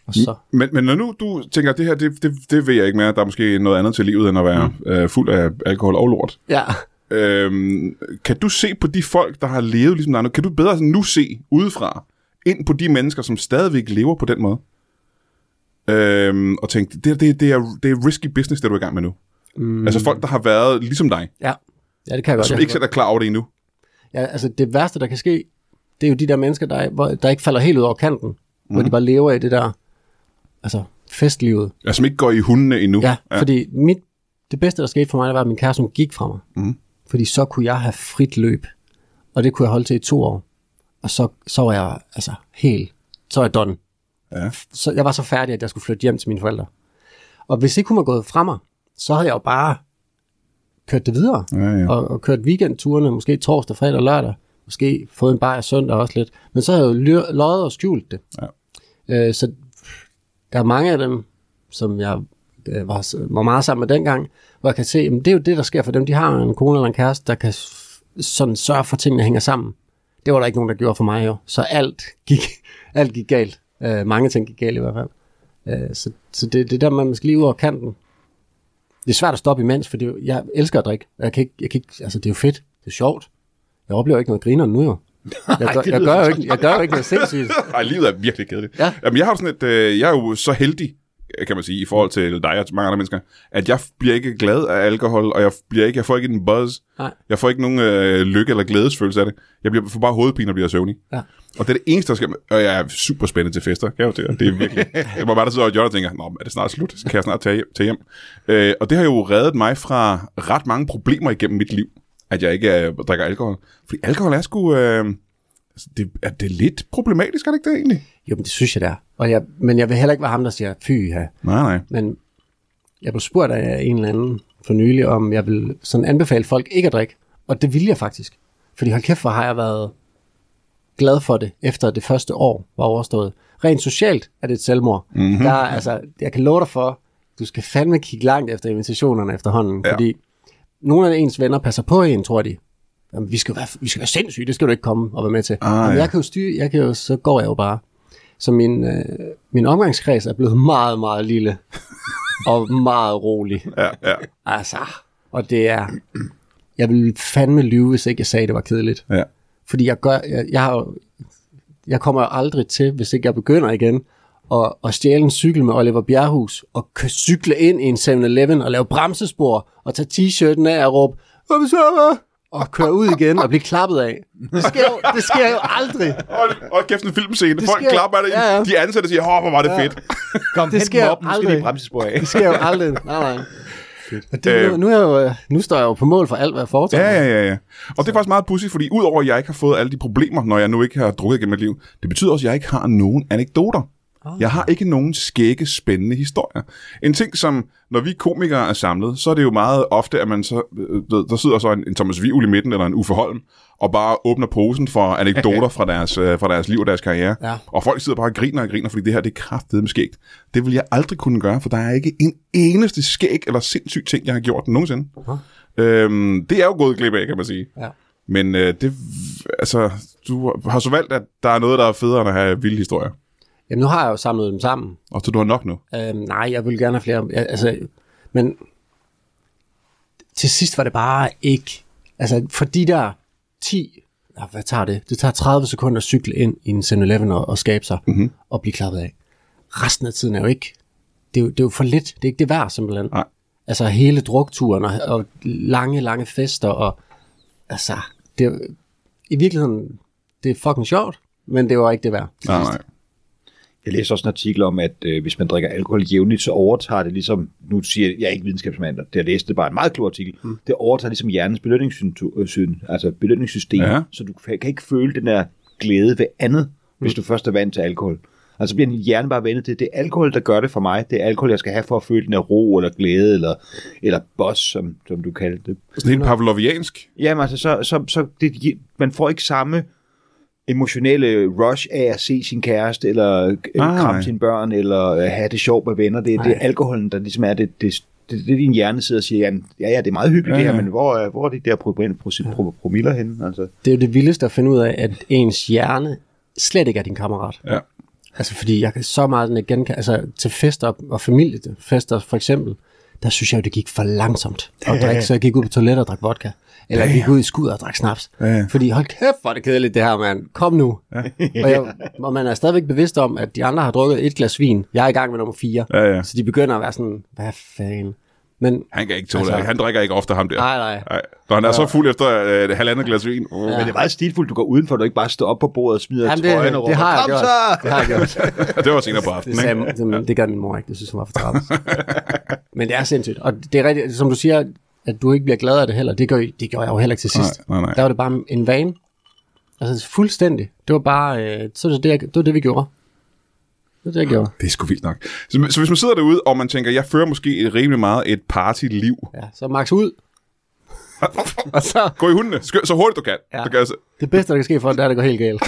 C: Og så...
A: Men, men når nu du tænker, det her, det, det, det ved jeg ikke mere, der er måske noget andet til livet, end at være mm. øh, fuld af alkohol og lort.
C: Ja.
A: Øhm, kan du se på de folk, der har levet ligesom dig nu, kan du bedre sådan nu se udefra, ind på de mennesker, som stadigvæk lever på den måde? Øhm, og tænke, det, her, det, det, er, det er risky business, det du er i gang med nu. Mm. Altså folk, der har været ligesom dig,
C: Ja. Ja, det kan jeg godt.
A: som Altså,
C: jeg
A: ikke selv er klar over det endnu.
C: Ja, altså det værste, der kan ske, det er jo de der mennesker, der, hvor, der ikke falder helt ud over kanten. Mm. Hvor de bare lever af det der altså, festlivet.
A: Altså som ikke går i hundene endnu.
C: Ja, ja. fordi mit, det bedste, der skete for mig, det var, at min kæreste hun gik fra mig.
A: Mm.
C: Fordi så kunne jeg have frit løb. Og det kunne jeg holde til i to år. Og så, så var jeg altså helt, så var jeg done.
A: Ja.
C: Så jeg var så færdig, at jeg skulle flytte hjem til mine forældre. Og hvis ikke hun var gået fra mig, så havde jeg jo bare kørt det videre
A: Ja, ja.
C: og, og kørt weekendturene, måske torsdag, fredag og lørdag, måske fået en bajer søndag også lidt, men så har jeg jo lyr- løjet og skjult det. Ja. Øh, så der er mange af dem, som jeg øh, var, s- var meget sammen med dengang, hvor jeg kan se, at det er jo det, der sker for dem. De har en kone eller en kæreste, der kan s- sådan sørge for, at tingene hænger sammen. Det var der ikke nogen, der gjorde for mig jo. Så alt gik, alt gik galt. Øh, mange ting gik galt i hvert fald. Øh, så så det, det er der, man skal lige ud over kanten. Det er svært at stoppe imens, for det, er jo- jeg elsker at drikke. Jeg kan ikke, jeg kan ikke, altså det er jo fedt. Det er sjovt. Jeg oplever ikke noget griner nu jo. Jeg gør, jeg gør, jo, ikke, jeg gør jo ikke noget sindssygt.
A: Ej, livet er virkelig kedeligt.
C: Ja.
A: Jamen, jeg har jo sådan et, øh, jeg er jo så heldig, øh, kan man sige, i forhold til dig og til mange andre mennesker, at jeg bliver ikke glad af alkohol, og jeg, bliver ikke, jeg får ikke en buzz.
C: Nej.
A: Jeg får ikke nogen øh, lykke eller glædesfølelse af det. Jeg bliver, får bare hovedpine og bliver søvnig.
C: Ja.
A: Og det er det eneste, der sker. Og jeg er super spændende til fester, kan jeg fortælle. jer. Det er virkelig. jeg må bare der sidder og John og tænker, Nå, er det snart slut? Kan jeg snart tage hjem? Tage hjem? Øh, og det har jo reddet mig fra ret mange problemer igennem mit liv, at jeg ikke øh, drikker alkohol. Fordi alkohol er sgu... Øh, altså, det, er det lidt problematisk, er det ikke det egentlig?
C: Jo, men det synes jeg, det er. Og jeg, men jeg vil heller ikke være ham, der siger, fy her.
A: Nej, nej.
C: Men jeg blev spurgt af en eller anden for nylig, om jeg ville sådan anbefale folk ikke at drikke. Og det ville jeg faktisk. Fordi hold kæft, hvor har jeg været glad for det, efter det første år var overstået. Rent socialt er det et selvmord.
A: Mhm.
C: Mm-hmm. Der, er, altså, jeg kan love dig for, du skal fandme kigge langt efter invitationerne efterhånden.
A: Ja.
C: Ja. Fordi nogle af ens venner passer på en, tror de. Jamen, vi skal, jo være, vi skal være sindssyge, det skal du ikke komme og være med til.
A: Ah,
C: Jamen,
A: ja.
C: jeg kan jo styre, jeg kan jo, så går jeg jo bare. Så min, øh, min omgangskreds er blevet meget, meget lille og meget rolig.
A: Ja, ja,
C: Altså, og det er... Jeg ville fandme lyve, hvis ikke jeg sagde, at det var kedeligt.
A: ja.
C: Fordi jeg gør... Jeg, jeg, har, jo- jeg kommer jo aldrig til, hvis ikke jeg begynder igen, at, at stjæle en cykel med Oliver Bjerghus, og kø- cykle ind i en 7-Eleven og lave bremsespor, og tage t-shirten af og råbe, Hvad så, hva?" og køre ud igen og blive klappet af. Det sker jo, det sker jo aldrig.
A: Og, og kæft en filmscene. Folk
C: sker-
A: klapper af det. Ja,
C: Ja,
A: ja.
C: ja.
A: De ansatte siger, åh, hvor var det fedt.
B: Kom,
C: Det
B: hent
C: sker
B: dem
C: jo
B: op, nu skal
C: aldrig.
B: de bremsespor af.
C: Det sker jo aldrig. Nej, nej. Og Det,
A: Øh.
C: nu, nu, er jeg jo, øh, nu står jeg jo på mål for alt, hvad jeg foretager.
A: Ja,
C: mig.
A: ja, ja, ja. Og det er faktisk meget pudsigt, fordi udover at jeg ikke har fået alle de problemer, når jeg nu ikke har drukket gennem mit liv, det betyder også, at jeg ikke har nogen anekdoter. Jeg har ikke nogen skægge, spændende historier. En ting, som når vi komikere er samlet, så er det jo meget ofte, at man så, øh, ved, der sidder så en, en Thomas Vivl i midten, eller en Uffe Holm, og bare åbner posen for anekdoter fra deres, øh, fra deres liv og deres karriere.
C: Ja.
A: Og folk sidder bare og griner og griner, fordi det her, det er kraftedeme skægt. Det vil jeg aldrig kunne gøre, for der er ikke en eneste skæg eller sindssyg ting, jeg har gjort nogensinde. Øhm, det er jo gået glip af, kan man sige.
C: Ja.
A: Men øh, det, altså, du har så valgt, at der er noget, der er federe end at have vilde historier.
C: Jamen, nu har jeg jo samlet dem sammen.
A: Og så du har nok nu.
C: Øhm, nej, jeg ville gerne have flere. Jeg, altså, men til sidst var det bare ikke... Altså, for de der 10... Ja, hvad tager det? Det tager 30 sekunder at cykle ind i en 7-Eleven og, og skabe sig mm-hmm. og blive klappet af. Resten af tiden er jo ikke det, er jo, det er jo for lidt. Det er ikke det værd, simpelthen.
A: Nej.
C: Altså hele drukturen og, og lange, lange fester. Og, altså, det er, jo- i virkeligheden, det er fucking sjovt, men det var ikke det værd.
A: Nej, nej.
B: Jeg læste også en artikel om, at øh, hvis man drikker alkohol jævnligt, så overtager det ligesom, nu siger jeg, jeg er ikke videnskabsmand, det jeg læste, det er bare en meget klog artikel, mm. det overtager ligesom hjernens belønningssystem, øh, syn- altså belønningssystem
A: Ja.
B: ja. så du kan kan ikke føle den der glæde ved andet, hvis du først er vant til alkohol. Altså bliver din hjerne bare vendet til, det er alkohol, der gør det for mig, det er alkohol, jeg skal have for at føle den her ro eller glæde, eller, eller boss, som, som du kalder det.
A: Sådan helt pavloviansk.
B: Jamen altså, så, så, så det, gi- man får ikke samme emotionelle rush af at se sin kæreste, eller øh,
A: Nej.
B: kramme sine børn, eller øh, have det sjovt med venner. Det, det er
C: Nej.
B: alkoholen, der ligesom er det, det, det, det din hjerne sidder og siger, ja, ja, ja det er meget hyggeligt
A: Ja,
B: ja, ja. det
A: ja.
B: her, men hvor, er- hvor er de der pro, pro, pro, promiller henne? Altså,
C: Det er jo det vildeste at finde ud af, at ens hjerne slet ikke er din kammerat.
A: Ja.
C: Altså fordi jeg kan så meget den igen, altså til fester og familiefester for eksempel, der synes jeg jo, det gik for langsomt at drikke, så jeg gik ud på toilettet og drak vodka. Eller jeg gik ud i skuddet og drak snaps.
A: Ja.
C: Fordi hold kæft, hvor er det kedeligt det her, mand. Kom nu. Ja. Og, jeg, og man er stadigvæk bevidst om, at de andre har drukket et glas vin. Jeg er i gang med nummer fire.
A: Ja, ja.
C: Så de begynder at være sådan, hvad fanden. Men
A: Han kan ikke tåle
C: Altså-
A: altså, Han drikker ikke ofte ham der.
C: Nej, nej.
A: nej. Når han er så fuld efter øh, et halvandet glas vin. Uh,
B: Men det er meget stilfuldt, du går udenfor, du ikke bare står op på bordet og smider
C: jamen,
B: trøjen og
C: det, det, har jeg
B: "Kom
C: gjort.
B: så!"
C: Det har jeg gjort.
A: Det var senere på
C: Det,
A: aftenen. Ikke?
C: sagde, det, det gør min mor ikke, det synes hun var for træt. Men det er sindssygt. Og det er rigtigt, som du siger, at du ikke bliver glad af det heller. Det gør, det gjorde jeg jo heller ikke til sidst.
A: Nej, nej, nej.
C: Der var det bare en vane. Altså fuldstændig. Det var bare, øh, så var det, det, jeg, det, var det vi gjorde. Det var det, jeg gjorde.
A: Det er sgu vildt nok. Så, så hvis man sidder derude, og man tænker, jeg fører måske et rimelig meget et partyliv.
C: Ja, så max ud. Og så,
A: Gå i hundene, Skø- så hurtigt du kan.
C: Ja.
A: Ja. Du kan altså.
C: det bedste, der kan ske for, det er, at det går helt galt.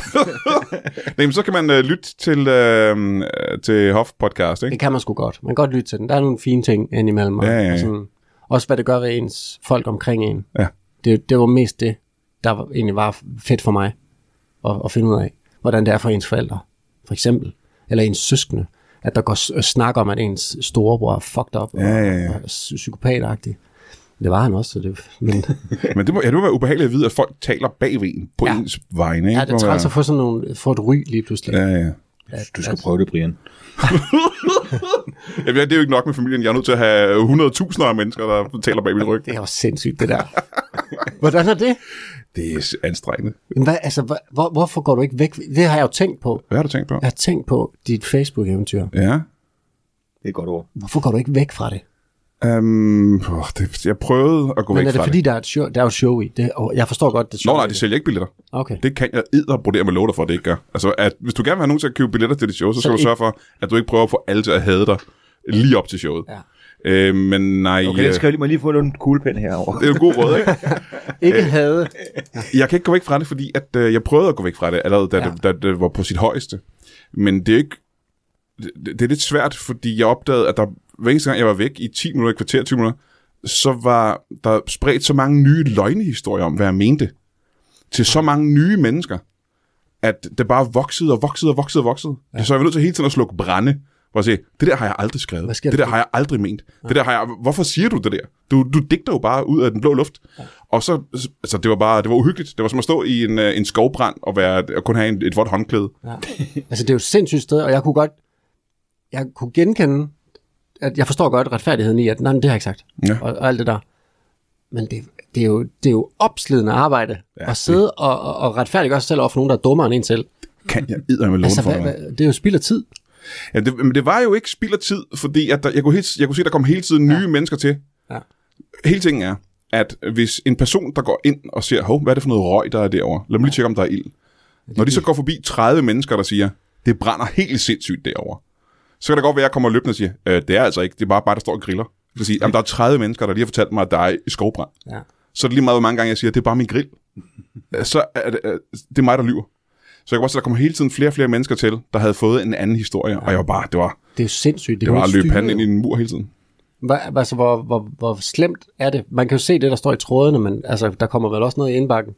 A: Nej, men så kan man øh, lytte til, øh, øh, til Hoff podcast, ikke?
C: Det kan man sgu godt. Man kan godt lytte til den. Der er nogle fine ting indimellem. og-
A: Ja, ja, ja.
C: Og sådan, også hvad det gør ved ens folk omkring en.
A: Ja.
C: Det, det var mest det, der var, egentlig var fedt for mig at, at finde ud af, hvordan det er for ens forældre, for eksempel, eller ens søskende, at der går s- øh, snak om, at ens storebror er fucked up
A: Ja, ja, ja.
C: og, og psy- psykopatagtig. Det var han også, så det, men
A: Men det må, ja, det må være ubehageligt at vide, at folk taler bagved en på
C: Ja.
A: ja. ens vegne. Ikke?
C: ja, det er
A: må
C: træls at
A: være-
C: få sådan nogle, få et ry lige pludselig.
A: Ja, ja.
B: Du skal prøve det, Brian.
A: Jamen, ja, det er jo ikke nok med familien. Jeg er nødt til at have 100.000 af mennesker, der taler bag min ryg.
C: Det er jo sindssygt, det der. hvordan er det?
A: Det er s- anstrengende.
C: Jamen, Hvad, altså, hvad, hvor, hvorfor går du ikke væk? Det har jeg jo tænkt på.
A: Hvad har du tænkt på?
C: Jeg har tænkt på dit Facebook-eventyr.
A: Ja.
B: Det er et godt ord.
C: Hvorfor går du ikke væk fra det?
A: Um, oh, det, jeg prøvede at gå
C: Men
A: væk
C: er det
A: fra
C: fordi, der er, et show, der er jo show i det? Og jeg forstår godt, det er
A: Nå
C: show
A: nej,
C: i
A: de sælger ikke billetter.
C: Okay.
A: Det kan jeg edderbrodere med love dig for, at det ikke gør. Altså, at hvis du gerne vil have nogen til at købe billetter til dit show, så, skal
C: det
A: du sørge for, at du ikke prøver at få alle til at hade dig lige op til showet.
C: Ja.
A: Øh, men nej,
B: Okay,
A: okay,
B: den
A: øh,
B: skal jeg lige, må jeg lige få en kuglepen herover.
A: det er jo god råd, ikke?
C: Ikke
A: øh.
C: havde.
A: Jeg kan ikke gå væk fra det, fordi at, øh, jeg prøvede at gå væk fra det allerede, da,
C: Ja.
A: ja. det, da det var på sit højeste. Men det er ikke... Det, det er lidt svært, fordi jeg opdagede, at der hver eneste gang, jeg var væk i 10 minutter, et kvarter, 20 minutter, så var der spredt så mange nye løgnehistorier om, hvad jeg mente, til så mange nye mennesker, at det bare voksede og voksede og voksede og voksede. Ja. Så jeg var nødt til hele tiden at slukke brænde, for at sige, det der har jeg aldrig
C: Hvad
A: skrevet.
C: sker
A: Det
C: der
A: der har jeg aldrig ment. Det der har jeg, hvorfor siger du det der? Du, du digter jo bare ud af den blå luft. Og så, altså det var bare, det var uhyggeligt. Det var som at stå i en, øh, en skovbrand og, være, og kun have en, et vådt håndklæde.
C: Ja. Altså, det er jo et sindssygt sted, og jeg kunne godt... Jeg kunne genkende... At jeg forstår godt retfærdigheden i, at nej, men det har jeg ikke sagt.
A: Ja.
C: Og, og alt det der. Men det, det, er, jo, det er jo opslidende arbejde ja, at sidde og, og, og retfærdiggøre sig selv over for nogen, der er dummere end en selv.
A: Kan jeg edder med låne
C: Altså,
A: for
C: hvad,
A: dig?
C: hvad, det er jo spild af tid.
A: Ja, det, men det var jo ikke spild af tid, fordi at der, jeg, kunne helt, jeg kunne se, at der kom hele tiden nye ja. mennesker til.
C: Ja.
A: Hele tingen er, at hvis en person, der går ind og siger, hov, hvad er det for noget røg, der er derovre? Lad mig lige tjekke, om der er ild. Når de så går forbi 30 mennesker, der siger, det brænder helt sindssygt derovre, så kan det godt være, at jeg kommer løbende og siger, øh, det er altså ikke, det er bare bare, der står og griller. Jeg kan sige, jamen, der er 30 mennesker, der lige har fortalt mig, at der er skovbrand.
C: Ja.
A: Så er det lige meget, hvor mange gange jeg siger, det er bare min grill. så er det, øh, det er mig, der lyver. Så jeg kan godt se, at der kommer hele tiden flere og flere mennesker til, der havde fået en anden historie, og jeg var bare, det var,
C: Det er jo sindssygt.
A: det
C: kan
A: var
C: man
A: at løbe
C: styre
A: panden
C: jo.
A: ind i en mur hele tiden.
C: Hva, altså, hvor, hvor, hvor slemt er det? Man kan jo se det, der står i trådene, men altså, der kommer vel også noget i indbakken.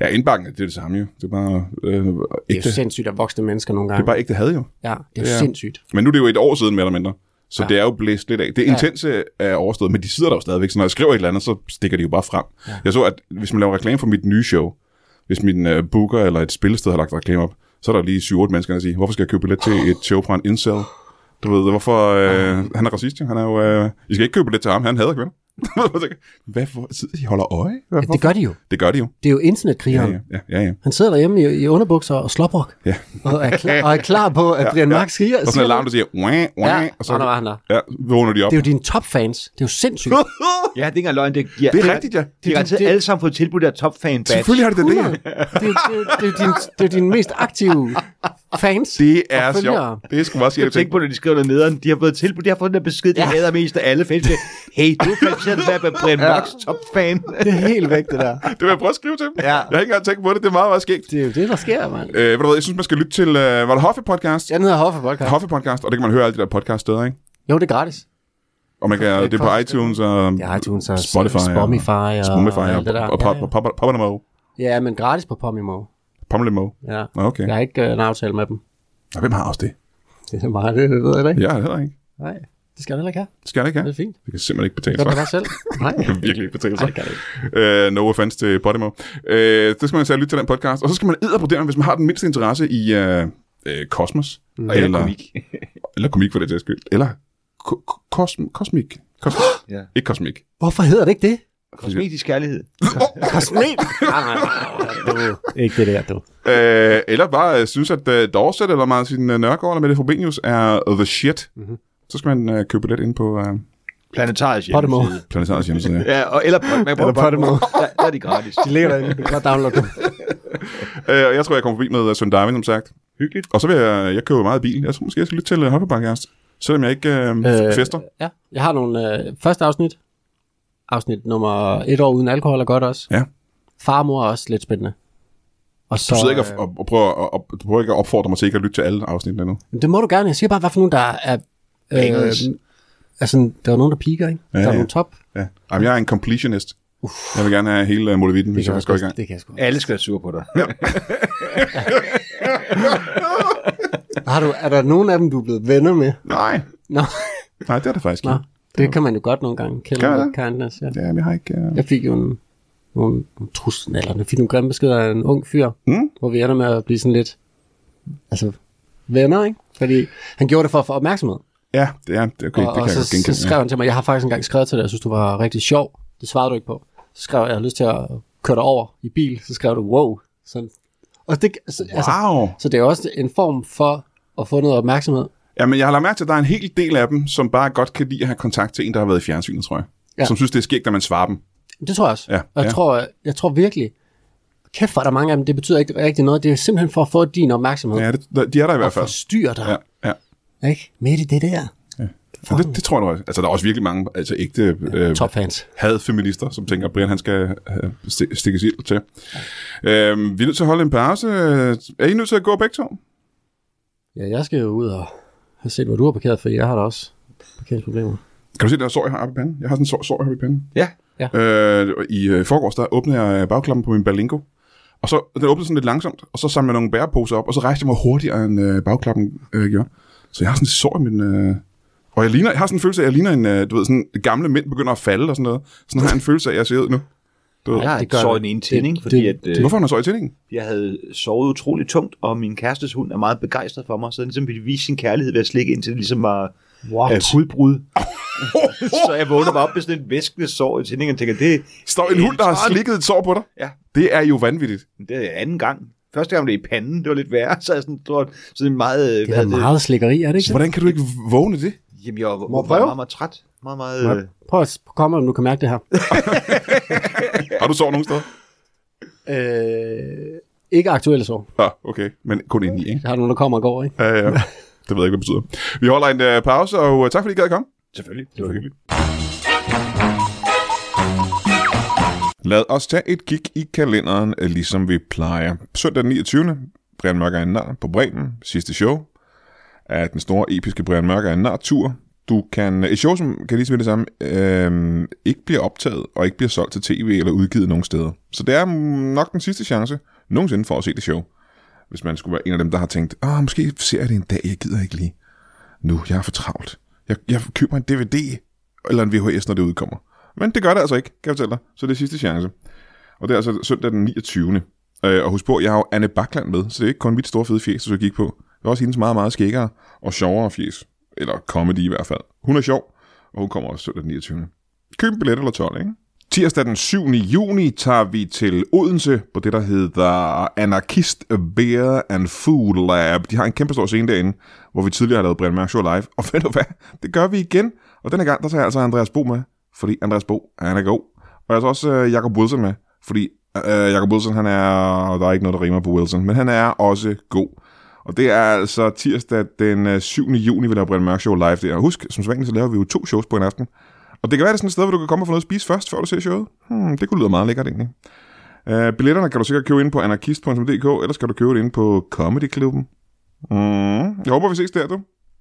A: Ja, indbakken, det er det samme jo. Det er bare øh,
C: Det er
A: ægte.
C: jo sindssygt at voksne mennesker nogle
A: Det er
C: gange.
A: bare ægte had jo.
C: Ja, det er jo
A: Ja.
C: sindssygt.
A: Men nu er det jo et år siden, mere eller mindre. Så ja. det er jo blæst lidt af. Det intense er overstået, men de sidder der jo stadigvæk. Så når jeg skriver et eller andet, så stikker de jo bare frem. Ja. Jeg så, at hvis man laver reklame for mit nye show, hvis min uh, booker eller et spillested har lagt reklame op, så er der lige 7-8 mennesker, der siger, hvorfor skal jeg købe billet til et show fra en incel? Du ved, hvorfor øh,
C: Ah.
A: han er racist, jo. Han er jo, øh, I skal ikke købe det til ham, han hader kvinder. Hvad for sidder I og holder øje? Hvad,
C: Det gør de jo.
A: det gør de jo.
C: Det er jo internetkrigeren.
A: Ja, ja, ja. ja.
C: Han sidder derhjemme i, i underbukser og slåbrok.
A: Ja.
C: Og, er klar, og er klar på, at Brian Mark skriger.
A: Der er sådan en alarm, der siger, wah, wah, og
C: Ja, og der var
A: så
C: han der.
A: ja, vågner de op.
C: Det er jo dine topfans. Det er jo sindssygt.
B: Ja, det er ikke engang løgn. Det, ja,
A: Det er rigtigt, ja.
B: De har garanteret
C: det-
B: alle sammen fået tilbudt der topfan badge.
A: Selvfølgelig har de det det. ja.
C: 100. Det er, det, er- det, er din, det er dine mest aktive fans.
A: Det er
C: og følgere.
A: sjovt. Det skal man også sige.
B: Jeg tænker på, når de skriver noget nederen. De har fået tilbud. De har fået den der besked, de ja.
C: Ja.
B: hader mest af alle fans. Hey, du er kvalificeret til at være Brian Mørks topfan.
C: Det er helt væk, det der.
A: Det vil jeg prøve at skrive til dem.
B: Ja.
A: Jeg har ikke engang tænkt på det. Det er meget, meget skægt.
C: Det er jo det, der sker,
A: Øh,
C: mand.
A: ved du hvad, jeg synes, man skal lytte til, øh, var det Hoffe Podcast?
C: Jeg hedder Hoffe Podcast.
A: Hoffe Podcast, og det kan man høre alle de der podcast steder, ikke?
C: Jo, det er gratis.
A: Og man kan, det er på
C: koster-
A: iTunes og
C: Ja, iTunes og
A: Spotify, og-
C: Spotify og,
A: Spotify
C: og
A: og,
C: alt det der.
A: og,
C: Ja,
A: Pop-
C: ja.
A: og Pop- Poppermo.
C: Ja, men gratis på Pomimo.
A: Pommelmo.
C: Ja.
A: Nå, okay.
C: Jeg har ikke øh, en aftale med dem.
A: Og hvem har også det?
C: Det er meget, det ved jeg da ikke.
A: Jeg har heller ikke.
C: Nej, det skal jeg heller ikke have.
A: Det skal jeg ikke
C: Det
A: have.
C: er fint.
A: Det kan simpelthen ikke betale
C: Gør
A: sig.
C: det bare selv. Nej.
A: Det kan virkelig ikke betale
C: Nej,
A: sig.
C: det kan det ikke.
A: Øh, no offense til Podimo. Øh, det skal man så lytte til den podcast. Og så skal man edderbrudere, hvis man har den mindste interesse i øh, øh, kosmos. Mm. Eller,
B: komik.
A: Eller komik, for det til skyld. Eller ko- ko- kosm- kosmik. Kosmik.
B: Ja.
A: Ikke kosmik.
C: Hvorfor hedder det ikke det?
B: Kosmetisk kærlighed.
C: Kosmet. nej, nej, nej, nej. Du, ikke det der, du.
A: Øh, eller bare øh, synes, at øh, Dorset eller Martin øh, Nørgaard eller Mette Frobenius er the shit. Mm-hmm. Så skal man øh, købe billet ind på øh,
B: Planetarisk
C: Podimo.
B: hjemmeside.
A: Planetariets hjemmeside. ja.
B: Ja, og, eller, man kan bruge
C: Eller Podimo.
B: Der, der er de gratis.
C: De ligger derinde. Du kan bare downloade dem.
A: øh, og jeg tror, jeg kommer forbi med øh, Søren Darwin, som sagt.
B: Hyggeligt.
A: Og så vil jeg, jeg køber jo meget bil. Jeg tror måske, jeg skal lytte til øh, Hoppebankast. Selvom jeg ikke øh, øh, fester.
C: Ja, jeg har nogle øh, første afsnit. Afsnit nummer et år uden alkohol er godt også.
A: Ja.
C: Farmor er også lidt spændende. Og så,
A: Du sidder ikke
C: øh,
A: og, og, og prøver, og, og, du prøver ikke at opfordre mig til ikke at lytte til alle afsnittene endnu.
C: men det må du gerne. Jeg siger bare, hvad for nogen, der er... Øh,
B: Bangers.
C: altså, der er nogen, der piker, ikke? Ja, der er
A: ja.
C: nogle top.
A: Ja. Jamen, jeg er en completionist. Uff. Jeg vil gerne have hele uh, Molevitten, hvis
C: kan
A: jeg skal i gang.
C: det kan jeg sgu. godt.
B: Alle skal være sure på dig.
C: Har du, er der nogen af dem, du er blevet venner med?
A: Nej,
C: Nå,
A: nej, det er det faktisk
C: Nå
A: ikke.
C: det kan man jo godt nogle gange. Kælder
A: Kan man
C: med kindness, ja.
A: Jamen, jeg har ikke... Uh...
C: Jeg fik jo en, nogle, nogle truslen, eller jeg fik nogle grimme beskeder af en ung fyr,
A: Mm.
C: hvor vi ender med at blive sådan lidt, altså, venner, ikke? Fordi han gjorde det for at få opmærksomhed.
A: Ja, det er det, er okay,
C: Okay,
A: det
C: og,
A: kan
C: og
A: jeg
C: så,
A: godt
C: så
A: genkende.
C: skrev
A: Ja.
C: han til mig, jeg har faktisk engang skrevet til dig, jeg synes, du var rigtig sjov. Det svarede du ikke på. Så skrev jeg, jeg har lyst til at køre dig over i bil. Så skrev du, wow. Sådan. Og det, så, wow. Altså,
A: Wow!
C: så det er også en form for at få noget opmærksomhed.
A: Jamen, jeg har lagt mærke til, at der er en hel del af dem, som bare godt kan lide at have kontakt til en, der har været i fjernsynet, tror jeg. Ja.
C: Ja.
A: Som synes, det er skægt, at man svarer dem.
C: Det tror jeg også.
A: Ja,
C: og jeg,
A: ja.
C: Tror, jeg tror virkelig, kæft hvor er der mange af dem, det betyder ikke rigtig noget. Det er simpelthen for at få din opmærksomhed.
A: Ja, det, de er der i hvert
C: og
A: fald.
C: forstyrre dig.
A: Ja, ja.
C: Ja. Ikke? Midt i det der.
A: Så det, det tror jeg også. Altså, der er også virkelig mange altså, ægte øh,
C: Topfans.
A: had-feminister, som tænker, at Brian han skal øh, sti- stikkes ild til. Øhm, vi er nødt til at holde en pause. Er I nødt til at gå begge to?
C: Ja, jeg skal jo ud og have set, hvor du har parkeret, for jeg har da også parkeringsproblemer.
A: Kan du se, det der sår, jeg har oppe i panden? Jeg har sådan en sår, sår jeg har oppe i panden.
B: Ja.
A: Øh, I øh, forgårs, der åbnede jeg øh, bagklappen på min Berlingo. Og så, den åbnede sådan lidt langsomt, og så samlede jeg nogle bæreposer op, og så rejste jeg mig hurtigere, end øh, bagklappen øh, gjorde. Så jeg har sådan et sår i min... Øh, og jeg, ligner, jeg har sådan en følelse af, at jeg ligner en, øh, du ved, sådan gamle mænd begynder at falde og sådan noget. Sådan har jeg en følelse af, at jeg ser ud nu. Du ved.
B: Jeg har
C: det gør
B: så
C: det.
B: en ene tænding,
C: Det-
B: fordi
C: det-
B: at, øh,
A: Hvorfor har han så i tændingen?
B: jeg havde sovet utrolig tungt, og min kærestes hund er meget begejstret for mig, så den ligesom ville vise sin kærlighed ved at slikke, indtil det ligesom var
C: What?
B: øh, hudbrud. så jeg vågner mig op med sådan et væskende sår i tændingen, og tænker, det,
A: Står en hund, der har slikket et sår på dig?
B: Ja.
A: Det er jo vanvittigt.
B: det er anden gang. Første gang var det i panden, det var lidt værre, så jeg sådan, det var sådan en meget... øh,
C: Det
B: hvad
C: er da
B: hedder
C: meget slikkeri, er det ikke? det?
A: Hvordan kan du ikke vågne det?
B: Jamen, jeg var, var
C: jeg prøve?
B: meget, meget træt. Meget, meget... øh,
C: Prøv at komme, om du kan mærke det her.
A: Har du sår nogen steder?
C: Øh, ikke aktuelle så.
A: Ja, okay. Men kun ind i, ikke?
C: Jeg har nogen, der kommer og går, ikke?
A: Ja, ja. Det ved jeg ikke, hvad det betyder. Vi holder en øh, pause, og øh, tak fordi I gad at komme.
B: Selvfølgelig.
A: Det var hyggeligt. Lad os tage et kig i kalenderen, øh, ligesom vi plejer. Søndag den 29. Brian Mørk er en nar på Bremen. Sidste show er den store, episke Brian Mørk er en nar-tur. Du kan, øh, et show, som kan lige så med det samme, øh, ikke bliver optaget og ikke bliver solgt til tv eller udgivet nogen steder. Så det er mm, nok den sidste chance nogensinde for at se det show. Hvis man skulle være en af dem, der har tænkt, ah, måske ser jeg det en dag, jeg gider ikke lige nu, jeg er for travlt. Jeg, jeg køber en DVD eller en VHS, når det udkommer. Men det gør det altså ikke, kan jeg fortælle dig. Så det er sidste chance. Og det er altså søndag den 29. Øh, og husk på, jeg har jo Anne Bakland med, så det er ikke kun mit store fede fjes, du skal kigge på. Det er også hendes meget, meget skækkere og sjovere fjes. Eller comedy i hvert fald. Hun er sjov, og hun kommer også søndag den 29. Køb en billet eller 12, ikke? Tirsdag den 7. juni tager vi til Odense på det, der hedder Anarchist Beer and Food Lab. De har en kæmpe stor scene derinde, hvor vi tidligere har lavet Brian Mørk Show live. Og ved du hvad? Det gør vi igen. Og denne gang, der tager jeg altså Andreas Bo med, fordi Andreas Bo, han er god. Og jeg tager også øh, Jacob Wilson med, fordi øh, Jacob Wilson, han er... Der er ikke noget, der rimer på Wilson, men han er også god. Og det er altså tirsdag den øh, 7. juni, vi laver Brian Mørk Show live der. Og husk, som sædvanligt, så laver vi jo to shows på en aften. Og det kan være, det er sådan et sted, hvor du kan komme og få noget at spise først, før du ser showet. Hmm, det kunne lyde meget lækkert egentlig. Uh, billetterne kan du sikkert købe ind på anarkist.dk, eller skal du købe det ind på Comedy Klubben. Mm, jeg håber, vi ses der, du.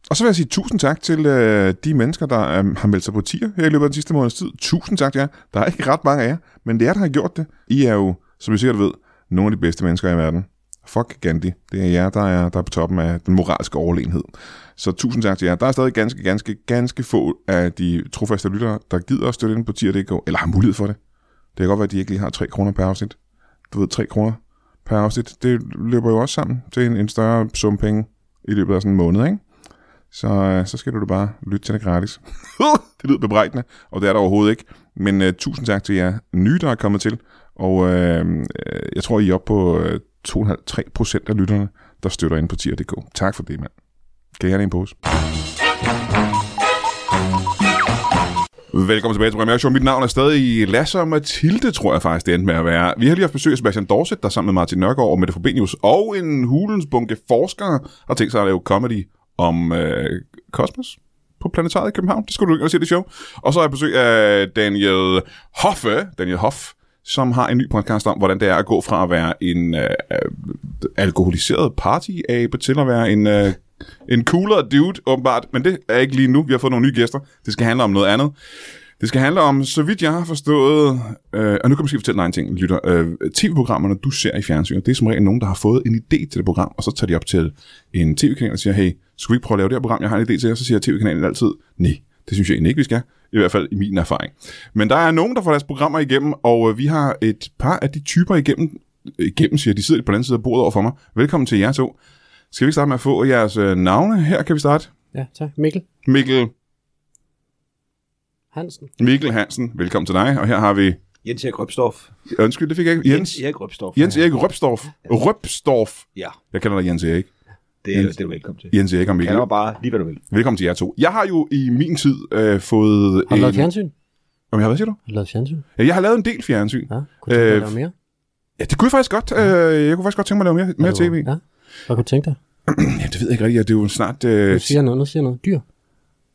A: Og så vil jeg sige tusind tak til øh, de mennesker, der øh, har meldt sig på tier her i løbet af den sidste måneds tid. Tusind tak til jer. Der er ikke ret mange af jer, men det er jer, der har gjort det. I er jo, som I sikkert ved, nogle af de bedste mennesker i verden. Fuck Gandhi. Det er jer, der er, der er på toppen af den moralske overlegenhed. Så tusind tak til jer. Der er stadig ganske, ganske, ganske få af de trofaste lyttere, der gider at støtte ind på tier.dk, eller har mulighed for det. Det kan godt være, at de ikke lige har 3 kroner per afsnit. Du ved, 3 kroner per afsnit, det løber jo også sammen til en, en større sum penge i løbet af sådan en måned, ikke? Så, øh, så skal du da bare lytte til det gratis. det lyder bebrejdende, og det er der overhovedet ikke. Men uh, tusind tak til jer nye, der er kommet til. Og uh, jeg tror, I er oppe på øh, 2,5-3 procent af lytterne, der støtter ind på tier.dk. Tak for det, mand. Kan jeg have en pose? Velkommen tilbage til Brian Mørk Show. Mit navn er stadig Lasse og Mathilde, tror jeg faktisk, det endte med at være. Vi har lige haft besøg af Sebastian Dorset, der sammen med Martin Nørgaard og Mette Fobenius og en hulens bunke forskere har tænkt sig at lave comedy om øh, kosmos på Planetariet i København. Det skulle du ikke se det show. Og så har jeg besøg af Daniel Hoffe, Daniel Hoff, som har en ny podcast om, hvordan det er at gå fra at være en øh, alkoholiseret partyabe til at være en øh, en coolere dude, åbenbart. Men det er ikke lige nu. Vi har fået nogle nye gæster. Det skal handle om noget andet. Det skal handle om, så vidt jeg har forstået, øh, og nu kan man sige fortælle dig en ting, lytter. Øh, TV-programmerne, du ser i fjernsynet, det er som regel nogen, der har fået en idé til det program, og så tager de op til en tv-kanal og siger, hey, skal vi ikke prøve at lave det her program, jeg har en idé til, og så siger tv-kanalen altid, nej, det synes jeg egentlig ikke, vi skal. I hvert fald i min erfaring. Men der er nogen, der får deres programmer igennem, og øh, vi har et par af de typer igennem, igennem siger, de sidder på den anden side af bordet over for mig. Velkommen til jer to. Skal vi ikke starte med at få jeres øh, navne? Her kan vi starte.
C: Ja, tak. Mikkel
A: Mikkel,
C: Hansen.
A: Mikkel Hansen, velkommen til dig. Og her har vi...
B: Jens Erik Røbstorff.
A: Undskyld, det fik jeg ikke. Jens,
B: Jens Erik Røbstorff.
A: Jens Erik Røbstorff. Røbstorff.
B: Ja,
A: Jeg kalder dig Jens Erik.
B: det er, det er du velkommen til.
A: Jens Erik og
B: Kan
A: Mikkel.
B: du bare lige, hvad du vil.
A: Velkommen til jer to. Jeg har jo i min tid øh, fået...
C: Har du lavet
A: en...
C: fjernsyn?
A: Om jeg har, hvad siger du?
C: Har du lavet fjernsyn?
A: Ja, Jeg har lavet en del fjernsyn.
C: Ja, kunne du tænke
A: Øh,
C: dig at lave mere?
A: Ja, det kunne jeg faktisk godt. Øh, jeg kunne faktisk godt tænke mig at lave mere, mere tv.
C: Ja. Hvad kunne du tænke dig?
A: Ja, det ved jeg ikke rigtigt. Det er jo snart øh,
C: Nu siger jeg noget, nu siger jeg noget. Dyr.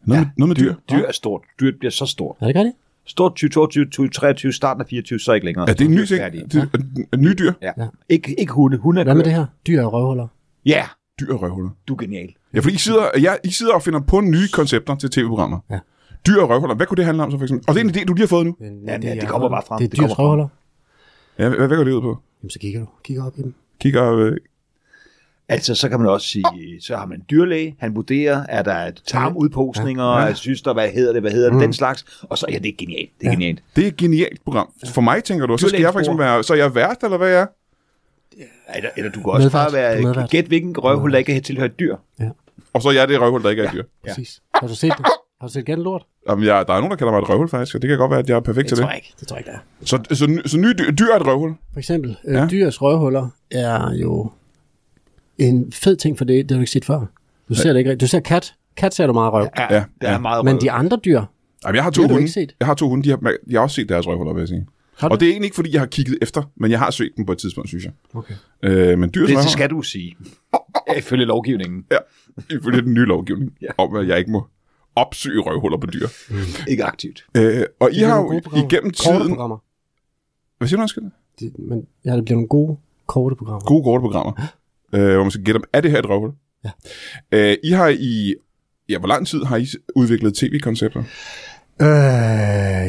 A: noget, med, noget med dyr.
B: Dyr er stort. Dyr bliver så stort.
C: Er det ikke det?
B: Stort 2022, 2023, starten af 24, så ikke længere.
A: Ja, det er en ny ting.
B: Færdige.
A: Det er, nye dyr.
B: Ja. ja. Ikke, ikke hunde. Hunde er
C: Hvad med
B: køer.
C: det her? Dyr er røvhuller.
B: Ja,
A: Dyr og røvhuller.
B: du er genial.
A: Ja, fordi I sidder, ja, I sidder og finder på nye koncepter til tv-programmer.
C: Ja.
A: Dyr og røvhuller. Hvad kunne det handle om så for eksempel? Og det er en idé, du lige har fået nu.
B: ja, det
C: er-
B: kommer bare frem.
C: Det er
B: Det
C: dyr
B: kommer frem.
C: røvhuller.
A: Ja, hvad, hvad går det ud på?
C: Jamen, så kigger du. Kigger op i dem.
A: Kigger øh,
B: Altså, så kan man også sige, så har man en dyrlæge, han vurderer, er der tarmudposninger, ja. syster, hvad hedder det, hvad hedder det, mm. den slags, og så, ja, det er genialt, det er ja. genialt.
A: Det er et genialt program. For mig, tænker du. Og så skal jeg for eksempel være... Så er jeg vært, eller hvad jeg er?
B: Eller, eller du kan også
C: Medvært.
B: bare være,
C: Du er medvært.
B: gæt hvilken røvhul, der ikke kan tilhøre et dyr.
A: Og så er jeg det røvhul, der ikke er et dyr.
B: Ja.
C: Præcis. Har du set det? Har du set igen lort?
A: Jamen, jeg, der er nogen, der kalder mig et røvhul, faktisk. Og det kan godt være, at jeg er perfekt til det.
B: Det tror jeg ikke.
C: Det tror jeg ikke, der er.
A: Så, så, så, ny- så nye dyr, dyr er et røvhul.
C: For eksempel, øh,
A: Ja.
C: ja. dyrs røvhuller er jo en fed ting for det, det har du ikke set før. Du ser det ikke rigtigt. Du ser kat. Kat ser du meget røv. Ja,
B: Ja,
A: Ja,
B: ja, der
A: ja.
B: er meget
C: men
B: røv.
C: de andre dyr,
A: Jamen, jeg har to
C: Det har du
A: hunde.
C: ikke set.
A: Jeg har to hunde. De har, jeg har også set deres røvhuller, vil jeg sige.
C: Har du
A: Og det er egentlig ikke, fordi jeg har kigget efter, men jeg har set dem på et tidspunkt, synes jeg.
C: Okay.
A: Øh, men dyr
B: Det, det
A: røvhuller-
B: skal du sige. Ja, Ifølge lovgivningen.
A: Ja, ifølge den nye lovgivning,
B: Ja.
A: om at jeg ikke må opsøge røvhuller på dyr.
B: Ikke aktivt.
A: Øh, og I
C: det
A: har
C: er
A: jo
C: nogle gode programmer.
A: igennem
C: korte
A: tiden...
C: programmer.
A: Hvad siger du, undskyld?
C: Det, men ja, det bliver nogle gode, korte programmer.
A: Gode, korte programmer, øh, hvor man skal gætte om, er det her et røvhul?
C: Ja.
A: Øh, I har i... Ja, hvor lang tid har I udviklet tv-koncepter?
C: Øh,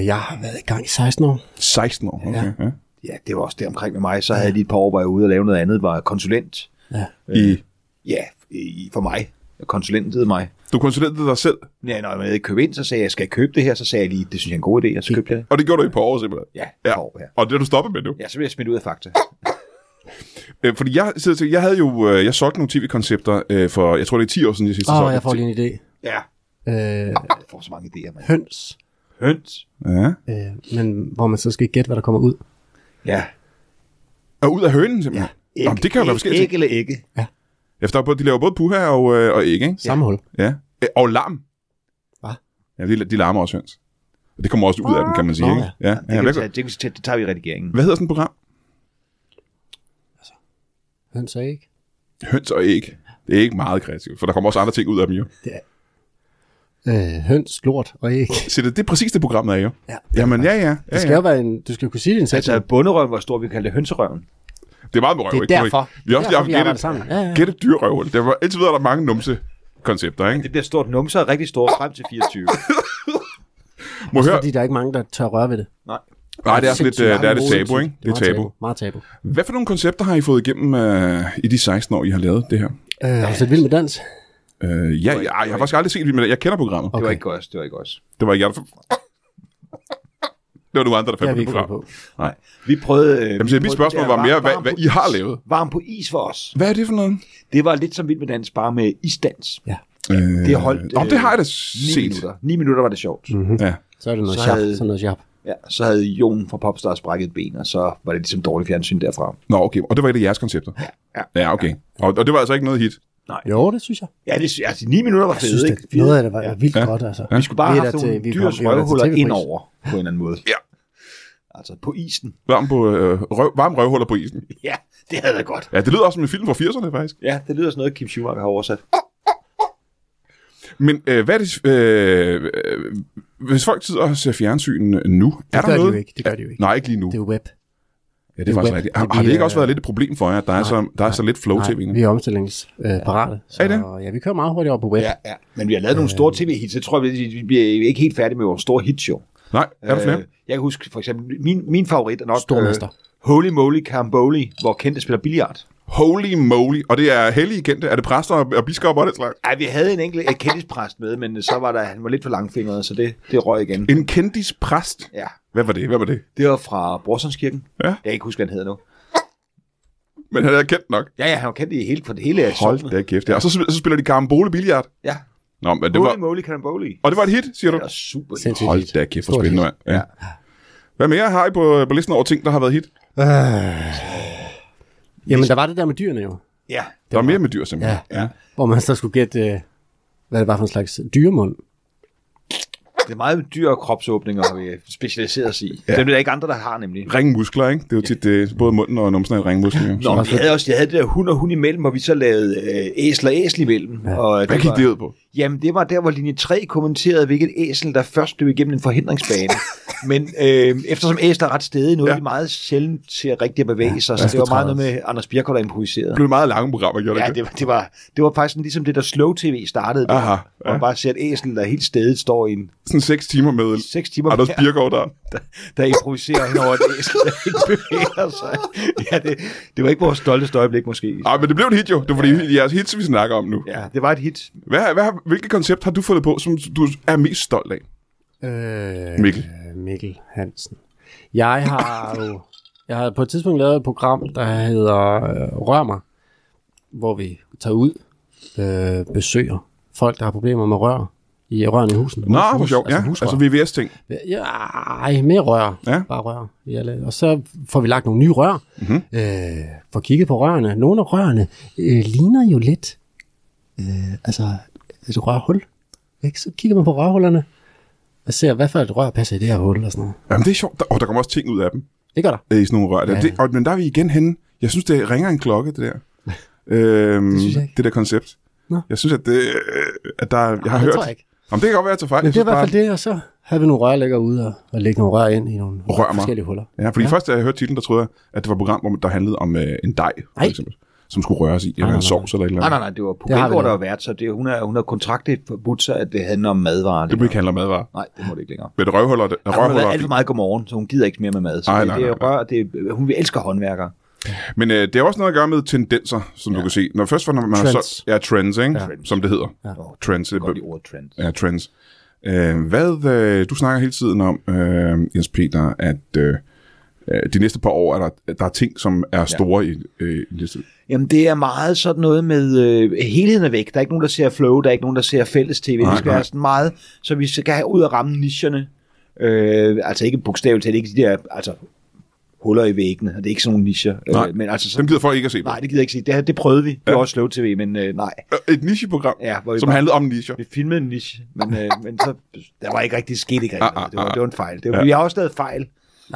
C: jeg har været i gang i 16 år.
A: 16 år, okay. Ja.
B: Ja, det var også det omkring med mig. Så havde jeg lige et par år, hvor jeg var ude og lave noget andet, var konsulent.
C: Ja.
A: I,
B: Ja, i, for mig. Konsulentede mig.
A: du konsulentede dig selv,
B: Ja, når jeg købte ind, så sagde jeg, skal jeg købe det her? Så sagde jeg lige, det synes jeg er en god idé, og så købte jeg det.
A: og det gjorde du i et par år simpelthen.
B: Ja,
A: Ja.
B: ja. År, ja.
A: Og det er du stoppet med nu.
B: ja så blev jeg smidt ud af Fakta.
A: Øh, fordi jeg, sidder og tænker, jeg havde jo, øh, jeg solgte nogle tv-koncepter øh, for, jeg tror det er 10 år siden, jeg sidst
C: Åh,
A: solgte
C: oh, jeg får
A: til-
C: lige en idé.
B: Ja.
C: øh,
B: Jeg får så mange idéer, mand.
C: høns,
B: Høns.
A: Ja.
C: øh, men hvor man så skal gætte, hvad der kommer ud.
B: Ja.
A: Og ud af hønen, simpelthen. Ja. Nå, men det kan jo være
B: æg,
A: forskellige
B: æg
A: ting.
B: eller ikke.
A: Jeg forstår på, at de laver både puha og, øh, og æg, ikke?
C: Samme hul.
A: Ja. Øh, Og larm.
C: Hva?
A: Ja, de, de larmer også høns. Og det kommer også ud af dem, kan man sige.
C: Nå,
A: ikke? ja.
C: ja.
B: Det,
A: ja,
B: kan
A: hvad,
B: vi tage, det, kan vi tage- det tager vi i redigeringen.
A: hvad hedder sådan et program?
C: Høns og æg.
A: Høns og æg. Det er ikke meget kreativt, for der kommer også andre ting ud af dem jo.
C: Øh, høns, lort og æg.
A: Så det, det er præcis det, programmet er jo.
C: Ja.
A: Jamen, ja, ja. ja,
C: Det skal
A: ja.
C: jo være en, du skal jo kunne sige din sætning.
B: Altså, bunderøven var stor, vi kalder det hønserøven.
A: Det er meget med røv,
C: Det
A: ikke?
C: er derfor.
A: Vi har også
C: Derfor, vi
A: lige
C: arbejder
A: haft
C: sammen. Ja, ja.
A: gætte, gætte dyrrøvhul. Der var altid ved, at der er mange numse koncepter, ikke?
B: Det bliver stort numser, og rigtig stort, frem til 24.
A: Må jeg høre?
C: Fordi der er ikke mange, der tør røre ved det.
B: Nej.
A: Nej, det er sådan lidt,
C: Sindssygt
A: øh, det er
C: meget
A: lidt tabu, ikke?
C: sindssygt.
A: Det er
C: meget
A: tabu.
C: Meget tabu.
A: Hvad for nogle koncepter har I fået igennem øh, i de 16 år, I har lavet det her?
C: Øh, har du set Vild med Dans?
A: Øh, ja, jeg, jeg har faktisk aldrig set det, men jeg kender programmet.
B: Det var
C: Okay.
B: ikke os, det var ikke os.
A: Det var ikke jeg, der... Det var du andre, der
C: Det
A: fandt
C: har
A: på det
C: vi ikke fundet
A: program.
C: på.
A: Nej.
B: Vi prøvede... Øh,
A: Jamen, så mit spørgsmål var mere, hvad, hvad I har lavet.
B: Varm på is for os.
A: Hvad er det for noget?
B: Det var lidt som vild med dans, bare med isdans.
C: Ja.
A: Øh,
B: Det har holdt,
A: Nå, men det
B: øh,
A: har jeg da
B: 9
A: set.
B: minutter. 9 minutter var det sjovt. Mm.
A: Ja.
C: Så er det noget
B: Så
C: sjap.
B: havde-
C: Så er noget sjap.
B: Ja, så havde Jon fra Popstar sprækket et ben, og så var det ligesom dårligt fjernsyn derfra.
A: Nå, okay. Og det var et af jeres koncepter?
B: Ja.
A: Ja, okay. Og, og det var altså ikke noget hit?
C: Jo, det synes jeg.
B: Ja, det, altså, 9 minutter var
C: Jeg
B: fede,
C: synes,
B: ikke?
C: det, noget af det var vildt godt, altså.
B: Vi skulle bare
C: Vi
B: have
C: er
B: haft
C: der til-
B: nogle
C: vi kom-
B: dyrs
C: vi var der til
B: røvhuller
C: TV-prisen.
B: ind over, på en eller anden måde.
A: Ja.
B: Altså, på isen.
A: Varm, på, øh, røv, varm røvhuller på isen.
B: Ja, det havde jeg godt.
A: Ja, det lyder også som en film fra 80'erne, faktisk.
B: Ja, det lyder sådan noget, Kim Schumacher har oversat.
A: Men øh, hvad er det... Øh, øh, hvis folk sidder og ser fjernsyn øh, nu, er der
C: gør de
A: noget...
C: jo ikke, det gør de jo ikke.
A: Nej, ikke lige nu.
C: Det er jo web.
A: ja, det er faktisk
C: web.
A: rigtigt. Har,
C: Det
A: har det
C: bliver-
A: ikke også været lidt et problem for jer, at der er, så, der er så lidt flow-tv nu?
C: Nej, vi er omstillingsparate. så
A: Er I det?
C: ja, vi kører meget hurtigt over på web.
B: Ja, ja. Men vi har lavet nogle store tv-hits. Jeg tror, vi, vi bliver ikke helt færdige med vores store hitshow.
A: Nej, er der flere?
B: Øh, jeg kan huske for eksempel, min, min favorit er nok...
C: Stormester.
B: Øh, Holy Moly Caramboli, hvor Kente spiller billiard.
A: Holy moly. Og det er hellige kendte. Er det præster og, og biskopper og det slags?
B: Ej, vi havde en enkelt en kendispræst med, men så var der, han var lidt for langfingret, så det, det røg igen.
A: En kendis præst.
B: Ja,
A: Hvad var det? Hvad var det?
B: det var fra Brorsonskirken.
A: Ja.
B: Jeg kan ikke huske, hvad han hedder nu.
A: Men han er kendt nok.
B: Ja, ja, han var kendt i hele, for det hele af
A: Hold da kæft. Ja. Og så, sp- så spiller de karambole billiard.
B: Ja,
A: Nå, men det
B: Holy
A: var,
B: var... Moly Caramboli.
A: og det var et hit, siger du?
B: Det var super
C: Sindssygt. Sygt
A: Hold
C: hit.
A: da kæft, hvor
C: Stort
A: spændende,
C: hit.
A: mand. Ja. Hvad mere har I på, på listen over ting, der har været hit?
C: Øh. Jamen, der var det der med dyrene jo,
B: Ja,
A: Der er mere med dyr, simpelthen.
C: Ja. hvor man så skulle gætte, øh, hvad det var for en slags dyremund.
B: det er meget dyre kropsåbninger, har vi specialiseret os i. Ja. Dem er der ikke andre, der har nemlig.
A: Ringmuskler, ikke? Det er jo tit øh, både munden og numsen er et ringmuskler. jo.
B: Nå, men vi havde også, jeg havde det der hund og hund imellem, og vi så lavede øh, æsel og æsel imellem. Ja. Og
A: Hvad gik
B: var,
A: det ud på?
B: Jamen, det var der, hvor linje 3 kommenterede, hvilket æsel, der først blev igennem en forhindringsbane. Men øh, eftersom æsler er ret stedige, nåede
A: Ja.
B: ja. de meget sjældent til at rigtig at bevæge sig, så det var meget noget med Anders Birker, der improviserede.
A: Det blev meget lange programmer, gjorde
B: Ja,
A: det, ikke?
B: det var, det, var, det var faktisk sådan ligesom det, der slow-tv startede. Der,
A: Aha,
B: ja. Hvor
A: ja.
B: man bare ser et æsel, der helt stedigt står i en
A: Sådan seks timer med
B: seks timer,
A: Anders
B: der,
A: Birgaard der.
B: der improviserer hen over et æsel, der ikke bevæger sig. Ja, det, det var ikke vores stolteste øjeblik måske.
A: Ej, men det blev et hit jo. Det var fordi det er jeres hits, vi snakker om nu.
B: Ja, det var et hit.
A: Hvad, hvad, hvilket koncept har du fundet på, som du er mest stolt af?
C: Øh,
A: Mikkel.
C: øh, Mikkel Hansen. Jeg har jo jeg har på et tidspunkt lavet et program, der hedder øh, Rør mig, hvor vi tager ud øh, besøger folk, der har problemer med rør i rørene i husen.
A: Nå,
C: Hus-
A: hvor sjovt. Ja,
C: husrør.
A: altså VVS-ting.
C: Ja, ej, mere rør.
A: Ja. Mhm.
C: Ja. Bare rør. i alle. Og så får vi lagt nogle nye rør. Mm-hmm. Øh, får kigget på rørene. Nogle af rørene øh, ligner jo lidt øh, altså et rørhul. Ikke? Så kigger man på rørhullerne og ser, hvad for et rør passer i det her hul og sådan noget.
A: Jamen, det er sjovt. Der, og der kommer også ting ud af dem,
C: Det gør der.
A: øh, i sådan nogle rør. Ja. Det, og, men der er vi igen henne. Jeg synes, det ringer en klokke, det der. Øhm, det,
C: synes jeg ikke.
A: det der koncept.
C: Nå.
A: Jeg synes, at, det, øh, at der, jeg har
C: det
A: hørt...
C: tror jeg ikke.
A: Jamen, det kan godt være, at jeg tager fejl.
C: Men
A: Jeg
C: det er i
A: synes
C: hvert fald det, og så havde vi nogle rørlægger ude og, og lægge nogle rør ind i nogle
A: Rør mig.
C: forskellige huller.
A: Ja, fordi ja. først, da jeg hørte titlen, der troede jeg, at det var et program, hvor der handlede om øh, en dej, for
C: Nej.
A: eksempel, som skulle røres i, eller en sovs eller et eller
B: Nej,
A: andet.
B: nej, nej, det var på
C: Det har vi
B: Bengård, der var
C: lavet.
B: vært, så det, hun har hun har kontraktet forbudt sig, at det handler om madvarer.
A: Det må ikke handle om madvarer.
B: Nej, det må det ikke længere.
A: Men røvhuller, det,
B: Hun har været alt
A: røvhuller
B: for meget godmorgen, så hun gider ikke mere med mad. Så
A: Ej,
B: Ej, det,
A: nej,
B: nej, det er
A: nej,
B: rør, det er, hun elsker håndværkere.
A: Men øh, det har også noget at gøre med tendenser, som ja. du kan se. Når først var, når man har
C: Trends.
A: solgt... Ja, trends, ikke? Ja. Som det hedder. Ja. Trends.
B: Det er godt
A: øh,
B: i ordet trend.
A: Ja, trends. Øh, hvad, øh, du snakker hele tiden om, øh, Jens Peter, at øh, øh, de næste par år, er der, der er ting, som er store ja. i, øh, i næste.
B: Jamen, det er meget sådan noget med, øh, helheden er væk. Der er ikke nogen, der ser flow, der er ikke nogen, der ser fælles tv.
A: Nej,
B: det skal
A: nej.
B: være sådan meget, så vi skal have ud og ramme nicherne. Øh, altså ikke bogstaveligt talt, ikke de der altså, huller i væggene. Det er ikke sådan nogle nicher.
A: Nej.
B: Øh, men altså, så,
A: Dem gider folk ikke at se på.
B: nej, det gider jeg ikke sige. Det, her- det prøvede vi. Det var også slow tv, men øh, nej.
A: Øh, Et nicheprogram,
B: Ja,
A: ja,
B: hvor vi
A: som
B: bare-
A: handlede om nicher.
B: Vi filmede en niche, men, øh, men så, der var ikke rigtig sket ikke rigtig.
A: Ah, ah,
B: noget. Det var,
A: ah,
B: det var en fejl. Det var, Vi har også lavet fejl.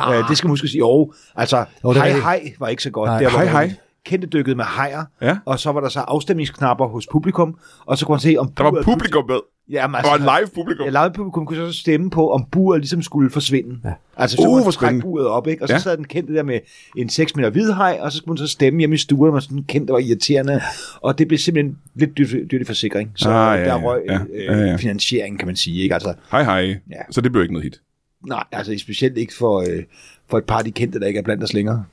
B: Øh, det skal man huske at sige. Jo, altså,
C: Jo,
B: jo,
C: det er
B: hej
C: rigtigt.
B: hej var ikke så godt.
C: Nej.
B: Der,
A: Hej, hej.
B: Kendte dykket med hejer,
A: Ja.
B: og så var der så afstemningsknapper hos publikum, og så kunne man se, om
A: Der var
B: buret-
A: publikum med.
B: Jamen,
A: Der
B: altså,
A: var et live publikum.
B: Jeg lavede publikum, kunne så stemme på, om buret ligesom skulle forsvinde. Ja. Altså, hvis
A: Uh,
B: uh,
A: hvor
B: man trække
A: spændende.
B: buret op, ikke? Og så
A: Ja.
B: ja. sad den kendte der med en 6 meter hvid hej, og så skulle man så stemme hjemme i stuen, og man sådan kendte, der var irriterende. Og det blev simpelthen lidt dyrt, dyrt i forsikring. Så
A: Ah,
B: ah,
A: ja,
B: ja, der
A: ja,
B: røg
A: ja,
B: øh,
A: ja, ja.
B: finansieringen, kan man sige, ikke? Altså,
A: Hej hej.
B: Ja.
A: Så det blev ikke noget hit.
B: nej, altså specielt ikke for, øh, for et par af de kendte, der ikke er blandt os længere.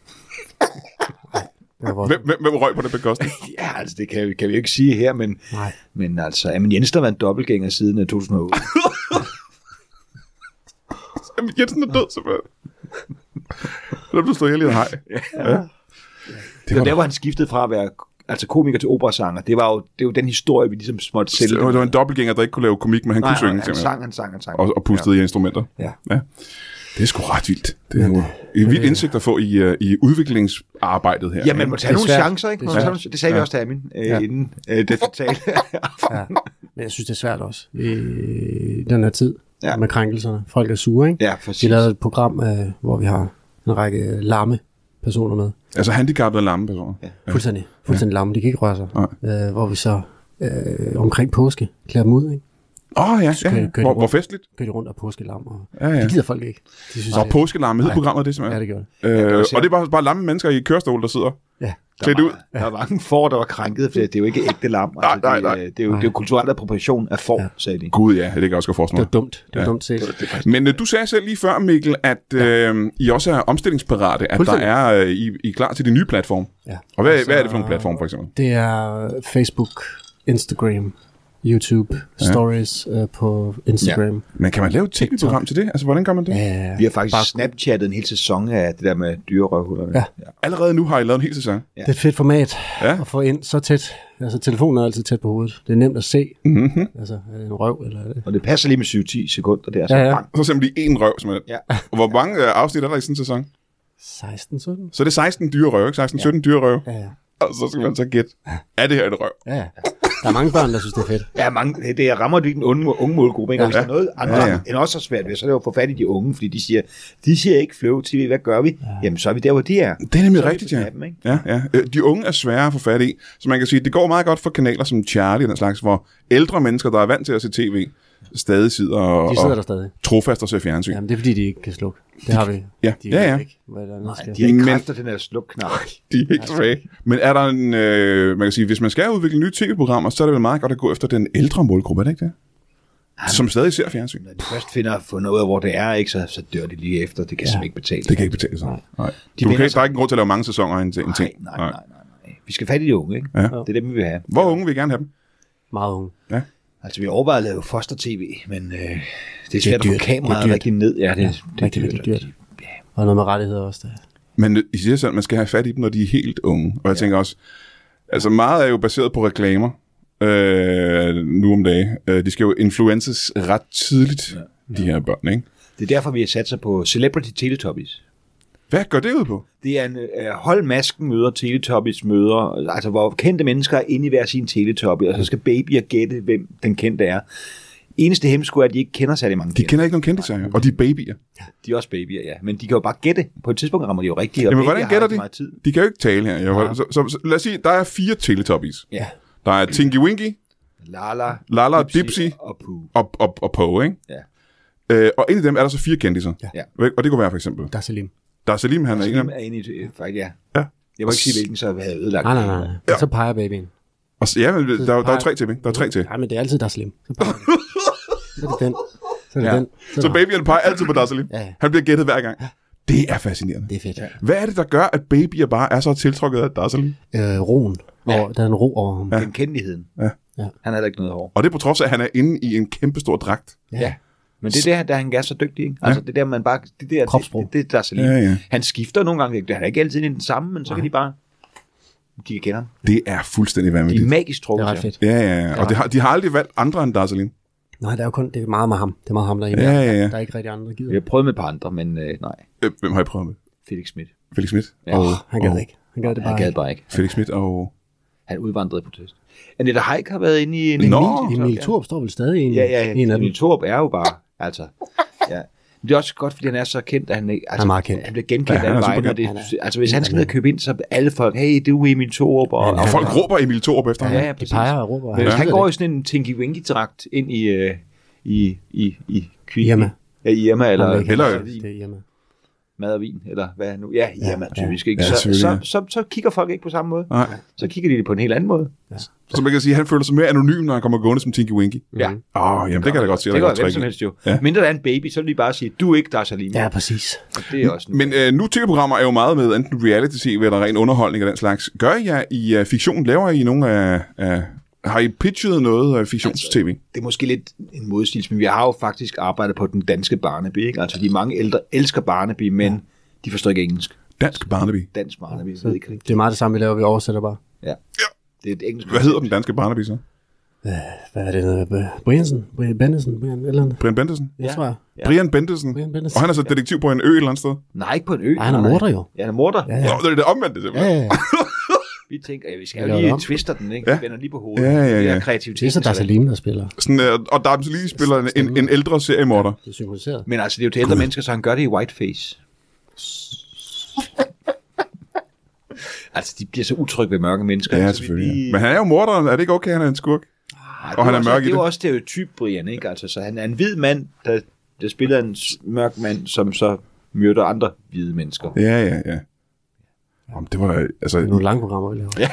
C: Ja, hvor-
A: Hvem, hvem, hvem røg på den bekostning?
B: Ja, altså det kan, vi- kan vi jo ikke sige her, men,
C: Nej.
B: men altså, Amin Jensen har været en dobbeltgænger siden øh, 2008.
A: Jamen, Jensen er død, simpelthen. Der blev slået heldig hej.
B: Det var der, hvor han skiftede fra at være altså komiker til operasanger. Det var jo, det er jo den historie, vi ligesom måtte sælge.
A: Det var, det var en dobbeltgænger, der ikke kunne lave komik, men han
B: nej,
A: kunne
B: nej,
A: synge
B: han
A: simpelthen.
B: sang, han sang, han sang.
A: Og, og pustede ja. i instrumenter.
B: Ja.
A: ja. Det er sgu ret vildt. Det er jo en vild indsigt at få i, øh, i udviklingsarbejdet her.
B: Ja, man må tage
C: Det er
B: nogle
C: svært.
B: chancer, ikke?
C: Det
B: Det,
C: er
B: tage
C: svært.
B: nogle, det sagde vi også til Amin, øh,
C: Ja.
B: inden øh, det fortalte.
C: Ja. Men jeg synes, det er svært også i den her tid
B: Ja.
C: ja. med krænkelserne. Folk er sure, ikke?
B: ja,
C: Vi
B: præcis.
C: lavede et program, øh, hvor vi har en række øh, lamme personer med.
A: Altså handicappede og lamme personer. Ja.
C: Fuldstændig, fuldstændig lamme. De kan ikke røre sig. Øh, hvor vi så øh, omkring påske klæder dem ud, ikke?
A: Åh oh, ja,
C: Så kører-
A: ja.
C: kører
A: Hvor,
C: de
A: hvor festligt.
C: Gør de rundt af påskelam. Og...
A: Ja, ja.
C: Det gider folk ikke. De synes,
A: Og
C: det...
A: påskelamme hed programmet, det
C: Ja,
A: simpelthen.
C: det gjorde det.
A: Øh,
B: også se-
A: og det er bare, bare lamme mennesker i kørestol, der sidder
C: Ja.
A: klædt ud.
B: Der var mange får, der var krænket, for det er jo ikke ægte lam. Altså,
A: Nej, nej, nej.
B: Det, øh, det, er jo, det er jo kulturel appropriation af får, sagde de.
A: Gud ja, det kan jeg også godt forestille
C: Det
A: mig.
C: var dumt. Det var dumt set.
A: Men øh, du sagde selv lige før, Mikkel, at øh, I også er omstillingsparate, at der
C: Fuldstændig.
A: er, øh, I, I er klar til de nye platforme.
C: Ja.
A: Og hvad, altså, hvad er det for nogle platforme, for eksempel?
C: Det er Facebook, Instagram, YouTube, Stories øh, på Instagram.
A: Men kan man lave et tv-program til det? Altså, hvordan gør man det?
C: Ja.
B: Vi har faktisk snapchattet en hel sæson af det der med dyrerøvhullerne.
C: Ja.
A: Allerede nu har I lavet en hel sæson.
C: Det er et fedt format
A: Ja.
C: ja. at få ind så tæt. Altså, telefonen er altid tæt på hovedet. Det er nemt at se. Mm-hmm. Altså, er det en røv, eller er det...
B: Og det passer lige med 7-10 sekunder der, så
C: Ja, ja.
B: bang.
A: Så simpelthen lige én røv, simpelthen.
B: Ja.
A: Og hvor mange øh, afsnit er der i sådan en sæson?
C: 16, 17?
A: Så er det 16 dyre røve, ikke? 16-17 ja. dyre røve.
C: Ja, ja.
A: Og så skal man så gætte, er det her et røv?
C: ja, ja. Der er mange børn, der synes, det er fedt.
B: Ja, mange, det- det rammer jo den unge, unge målgruppe, ikke? Og hvis der er noget andre,
A: Ja,
B: ja,
A: ja.
B: ja. end også har svært ved, så er det jo at få fat i de unge, fordi de siger, de siger ikke flow tv, hvad gør vi? Ja. Jamen, så er vi der, hvor de er.
A: Det er nemlig
B: Så er vi
A: rigtigt,
B: på
A: ja.
B: knappen, ikke?
A: ja, ja. Øh, De unge er svære at få fat i, så man kan sige, at det går meget godt for kanaler som Charlie og den slags, hvor ældre mennesker, der er vant til at se tv, stadig sidder og,
C: De sidder
A: og
C: der stadig.
A: trofast og ser fjernsyn.
C: Jamen, det er fordi, de ikke kan slukke. Det har vi.
A: Ja.
C: de
A: Ja, ja.
C: ved Ikke, hvad der er, der sker.
B: De har ikke
A: Men-
B: kræfter til den der slukknap.
A: De er helt svage. Men er der en, øh, man kan sige, hvis man skal udvikle nye tv-programmer, så er det vel meget godt at gå efter den ældre målgruppe, er det ikke det? Som stadig ser fjernsyn.
B: Når de først finder for noget, hvor det er, ikke, så, så dør de lige efter. Det kan ja. simpelthen ikke betale.
A: Det kan ikke betale sig. Nej.
B: De
A: Du kan,
B: vender
A: ikke-
B: sig.
A: der er ikke en grund til at lave mange sæsoner af en, en ting.
B: nej, nej, nej, nej, nej. Vi skal fat i de unge, ikke?
A: Ja.
B: Ja. Det er dem, vi vil have.
A: Hvor unge vil I gerne have dem?
C: Meget unge.
B: Altså, vi overvejede at lave foster-tv, men øh, det er svært at
C: dyrt.
B: få
C: Det er
B: kameraet
C: dyrt.
B: rigtig ned. Ja, det, det, er
C: rigtig, rigtig dyrt. Og noget med rettigheder også. Der.
A: Men øh, I siger selv, at man skal have fat i dem, når de er helt unge. Og jeg ja. tænker også, altså meget er jo baseret på reklamer øh, nu om dagen. Øh, de skal jo influences ret tidligt, ja. de her børn, ikke?
B: Det er derfor, vi har sat sig på Celebrity Teletubbies.
A: Hvad går det ud på?
B: Det er en øh, hold masken møder, Teletubbies møder, altså hvor kendte mennesker er inde i hver sin Teletubby, og så skal babyer gætte, hvem den kendte er. Eneste hemsko er, at de ikke kender særlig mange
A: De
B: kendte.
A: kender ikke nogen kendtiser, jo. og de er babyer.
B: De er også babyer, ja. Men de kan jo bare gætte. På et tidspunkt rammer de jo rigtigt. og
A: Jamen,
B: babyer
A: hvordan gætter
B: har rigtig
A: de?
B: meget Tid.
A: De kan jo ikke tale her. Jo. Så, så, så, lad os sige, der er fire Teletubbies.
B: Ja.
A: Der er Tinky Winky
B: Lala,
A: Lala, Dipsy.
B: og Pooh.
A: og, og, og Poe, ikke?
B: Ja.
A: Øh, og ind i dem er der så fire kendtiser.
B: Ja.
A: Og det kunne være for eksempel,
C: Der er Selim.
A: der er Salim, han er en af
B: Jamen,
A: dem.
B: er inde i, øh, faktisk, ja.
A: Ja.
B: Jeg må ikke sige, hvilken så havde ødelagt.
C: Nej, nej, nej. nej. Ja. Så peger babyen.
A: Og, s- ja, men der, der, er jo tre til, ikke? Der er tre til.
C: Nej, men det er altid, der er Selim. Så peger den. Så er det den. Så er det
A: Ja.
C: den. Så, er
A: Så
C: det-
A: babyen peger altid på Darcelim.
C: Ja, ja.
A: Han bliver gættet hver gang. Det er fascinerende.
C: Det er fedt. Ja.
A: Hvad er det, der gør, at babyer bare er så tiltrukket af Darcelim?
C: Øh, roen. Og der er en ro over ham. Ja.
B: Den kendeligheden.
A: Ja.
B: Han havde da ikke noget hår.
A: Og det er på trods af, at han er inde i en kæmpestor dragt.
C: ja.
A: Men
B: Men det er der, der han er så dygtig. Ikke? Altså det der, man bare... Det der,
C: Kropssprog.
B: Det, det, det der er så lige.
A: Ja, ja.
B: Han skifter nogle gange. Det er ikke altid ind i den samme, men så kan de bare... De kan kende ham.
A: Det er fuldstændig
B: De er
A: vanvittigt.
B: magisk
C: Det
B: trukket.
C: er
B: til
C: ret fedt.
A: Ja, ja, ja. Og det har, de har aldrig valgt andre end Darceline.
C: Nej, det er jo kun det er meget med ham. Det er meget ham, der er inde.
A: Ja, ja, ja.
C: Der er ikke rigtig andre, der gider.
B: ham. Jeg har prøvet med et par andre, men øh, nej.
A: Øh, Hvem har I prøvet med?
B: Felix Schmidt.
A: Felix Schmidt?
B: Ja.
A: Og,
C: Han gad
A: og
C: ikke. Han gad det bare
B: Han gad
C: ikke.
B: bare ikke.
A: Felix Schmidt og...
B: Han udvandrede i protest. Annette Heik har været inde i en...
A: Nå.
B: Emil-
C: Emil Thorup står vel stadig i en,
B: Ja, ja,
C: en
B: ja.
C: af dem.
B: Emil Thorup er jo bare, altså. Ja. Men det er også godt, fordi han er så kendt, at han, ikke- altså,
C: Han er meget kendt.
B: han bliver genkendt
A: Ja,
B: ja,
A: han er
B: alle vejen. og Det,
C: superkendt.
B: altså, hvis han skal ned og købe ind, så er alle folk, hey, det er jo Emil Thorup. Og,
A: Og folk råber Emil Thorup efter ham.
B: Ja, ja,
C: De
B: præcis.
C: peger og råber.
B: Men hvis
C: Ja.
B: han går i sådan en tinky winky dragt ind i, øh, i, i, i, i
C: Irma.
B: Ja, i Irma, eller
C: Eller,
A: Eller-
C: det er Irma.
B: mad og vin, eller hvad er nu? Ja, Irma,
C: ja.
B: typisk. Ikke?
A: Ja,
B: så,
A: selvfølgelig,
B: så,
A: ja.
B: så, så, kigger folk ikke på samme måde.
A: Nej.
B: Så kigger de det på en helt anden måde.
A: Så man kan sige, at han føler sig mere anonym, når han kommer gående som Tinky Winky.
B: Ja.
A: Åh, oh, jamen det kan jeg da godt se.
B: Det
A: der
B: kan
A: er godt
B: være hvem
A: trick
B: som
A: i.
B: helst jo.
A: Ja.
B: Ja. Mindre der er en baby, så vil de bare sige, du er ikke der, Salima.
C: ja, præcis.
B: Det er
C: Mm.
B: også en-
A: Men øh, nu tv-programmer er jo meget med enten reality-tv eller ren underholdning og den slags. Gør I jer i uh, fiktion? Laver I nogle af... Uh, har I pitchet noget af fiktions-tv?
C: Altså,
B: det er måske lidt en modsigelse, men vi har jo faktisk arbejdet på den danske Barnaby. Ikke? Altså, de mange ældre elsker Barnaby, men ja. de forstår ikke engelsk.
C: øh,
A: Dansk Barnaby.
B: Dansk Barnaby, jeg
C: Så
B: ved ikke rigtigt.
C: det er meget det samme, vi laver. Vi oversætter bare.
B: Ja. Det er et engelsk.
A: Hvad hedder den danske Barnaby så?
C: Hvad er det? øh, Briansen? Brian Bennesen? Brian eller andet?
A: Brian Bendesen?
C: Jeg
B: Ja.
C: tror jeg.
A: Ja. Brian Bendesen?
C: Brian Bendtsen.
A: Og han er så detektiv på en ø et eller andet sted?
B: Nej, ikke på en ø.
C: Ej, Ah, han er
B: Nej, nej.
C: morder jo.
B: Ja, han er morder.
C: Ja,
B: Ja.
A: Ja. Nå, det er det omvendte
C: Ja,
A: simpelthen.
C: ja, ja.
B: Vi tænker, ja, vi skal jo
C: laver det
B: lige
C: om.
B: twiste den, ikke?
A: Ja.
B: Ja. Vender lige på hovedet.
A: Ja, ja,
B: Det
A: ja.
B: er kreativitet.
C: Det er så der Salim, der spiller.
A: Sådan, øh, og der er lige spiller en, en, en ældre seriemorder.
C: Det er synkroniseret.
B: Men altså, det er jo til ældre mennesker, så han gør det i whiteface. altså, de bliver så utrygge ved mørke mennesker.
A: Ja,
B: så vi
A: selvfølgelig.
B: lige-
A: Ja. Men han er jo morderen. Er det ikke okay, han er en skurk?
B: Ej,
A: Og
B: det
A: han
B: var
A: er
B: også-
A: mørk i
B: Det er
A: det.
B: jo også stereotyp, Brian, ikke? Altså, så han er en hvid mand, der, der spiller en s- mørk mand, som så myrder andre hvide mennesker.
A: Ja, ja, ja. Jamen, det var da- altså...
C: Det er nogle lange programmer, vi laver. Ja.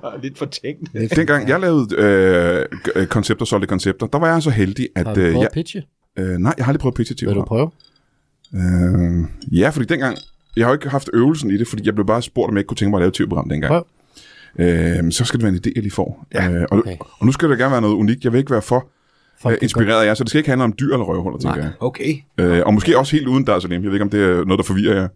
B: Lidt for tænkt.
A: Dengang jeg lavede øh, g- øh, koncepter, solgte koncepter, der var jeg så heldig,
C: Har
A: at...
C: du
A: Øh,
C: prøvet
A: jeg,
C: at pitche?
A: øh, nej, jeg har aldrig prøvet pitche til
C: Vil du prøve?
A: Øh, ja, fordi dengang... Jeg har jo ikke haft øvelsen i det, fordi jeg blev bare spurgt, om jeg ikke kunne tænke mig at lave et tv-program dengang.
C: Prøv.
A: Øh, så skal det være en idé, jeg lige får. Ja, øh, og,
C: okay.
A: og nu skal det gerne være noget unikt. Jeg vil ikke være for
C: Folk
A: øh,
C: kan
A: inspireret af jer, så det skal ikke handle om dyr eller røvhuller, tænker jeg.
B: Okay.
A: Øh, og måske også helt uden der, så Jeg ved ikke, om det er noget, der forvirrer jer.
C: godt-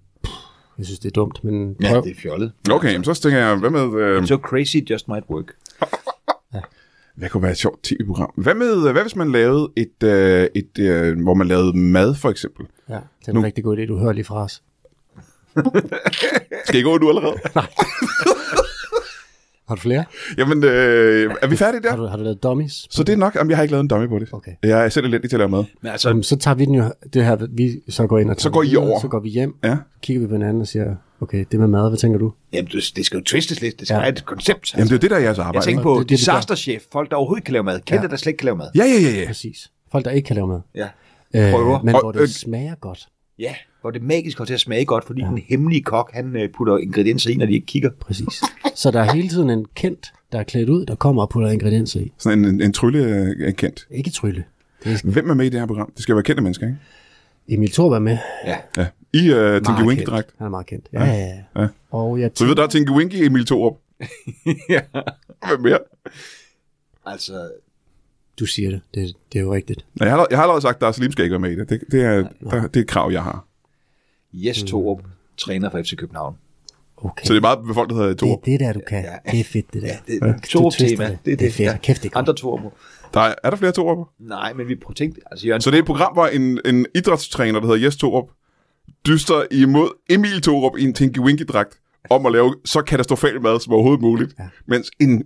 C: Jeg synes, det er dumt, men
B: Ja,
C: prøv.
B: det er fjollet.
A: Okay, jamen, så tænker jeg, hvad med... Øh,
B: So crazy it just might work.
A: Hvad kunne være et sjovt tv-program? Hvad med, øh, hvad hvis man lavede et, øh, et øh, hvor man lavede mad, for eksempel?
C: Ja, det er en rigtig god idé, du hører lige fra os.
A: Skal I gå nu allerede?
C: Har du flere?
A: Jamen, øh, er vi færdige
C: Har
A: der?
C: du, har du lavet dummies?
A: Så det er nok, om jeg har ikke lavet en dummy på det.
C: Okay.
A: Jeg er selv elendig til at lave mad.
B: Men altså,
C: Jamen, så tager vi den jo, det her, vi så går ind og tager
A: Så går
C: den
A: I
C: videre,
A: over.
C: Så går vi hjem,
A: Ja.
C: kigger vi på hinanden og siger, okay, det med mad, hvad tænker du?
B: jamen, det det skal jo twistes lidt. Det skal
C: Ja.
B: være et koncept.
A: Jamen, det
B: Altså.
A: er jo det, der er jeres
B: Jeg
A: arbejde.
B: tænker
A: ikke?
B: på
C: Det er det, vi gør.
B: disaster chef, folk der overhovedet ikke kan lave mad. Kendte, der slet ikke kan lave mad.
A: Ja, ja, ja, ja.
C: Præcis. Folk, der ikke kan lave mad.
B: Ja. Prøver.
C: Øh, men
A: Og-
C: hvor det
A: øh,
C: smager godt.
B: Ja, hvor det magisk kommer til at smage godt, fordi ja. den hemmelige kok, han øh, putter ingredienser i, når de ikke kigger.
C: Præcis. Så der er hele tiden en kendt, der er klædt ud, der kommer og putter ingredienser i.
A: Sådan en, en, en trylle øh, er kendt.
C: Ikke trylle. Det er
A: Hvem er med i det her program? Det skal jo være kendte mennesker, ikke?
C: Emil Thorberg med.
B: Ja.
A: Ja. I øh, Tinky
C: Meget
A: Winky
C: kendt.
A: dragt.
C: Han er meget kendt. Ja, ja, ja.
A: Ja.
C: ja. Og jeg
A: Så vi ved, der er Tinky Winky Emil Thorup.
B: ja.
A: Hvem mere?
B: Altså,
C: du siger det. det. Det er jo rigtigt.
A: Nej, jeg, har, allerede- jeg har allerede sagt, at der er Slim skal ikke være med i det. Det, det, er, der, det er et krav, jeg har.
B: Jes Torup, træner for FC København.
C: Okay.
A: Så det er meget med folk, der hedder
C: det er
A: Thorup.
C: det der, du kan. Det er fedt, det der.
B: Det
C: Du
B: er Torup-tema.
C: twister Det, det, det er fedt.
B: ja.
C: Kæft, det er godt.
B: Andre Torup.
A: Der er, er der flere Thorup?
B: Nej, men vi prøv- tænkte, altså Jørgen,
A: Så det er et program, hvor en, en idrætstræner, der hedder Jes Torup, dyster imod Emil Torup i en Tinky Winky-dragt om at lave så katastrofal mad som overhovedet muligt, ja. mens en,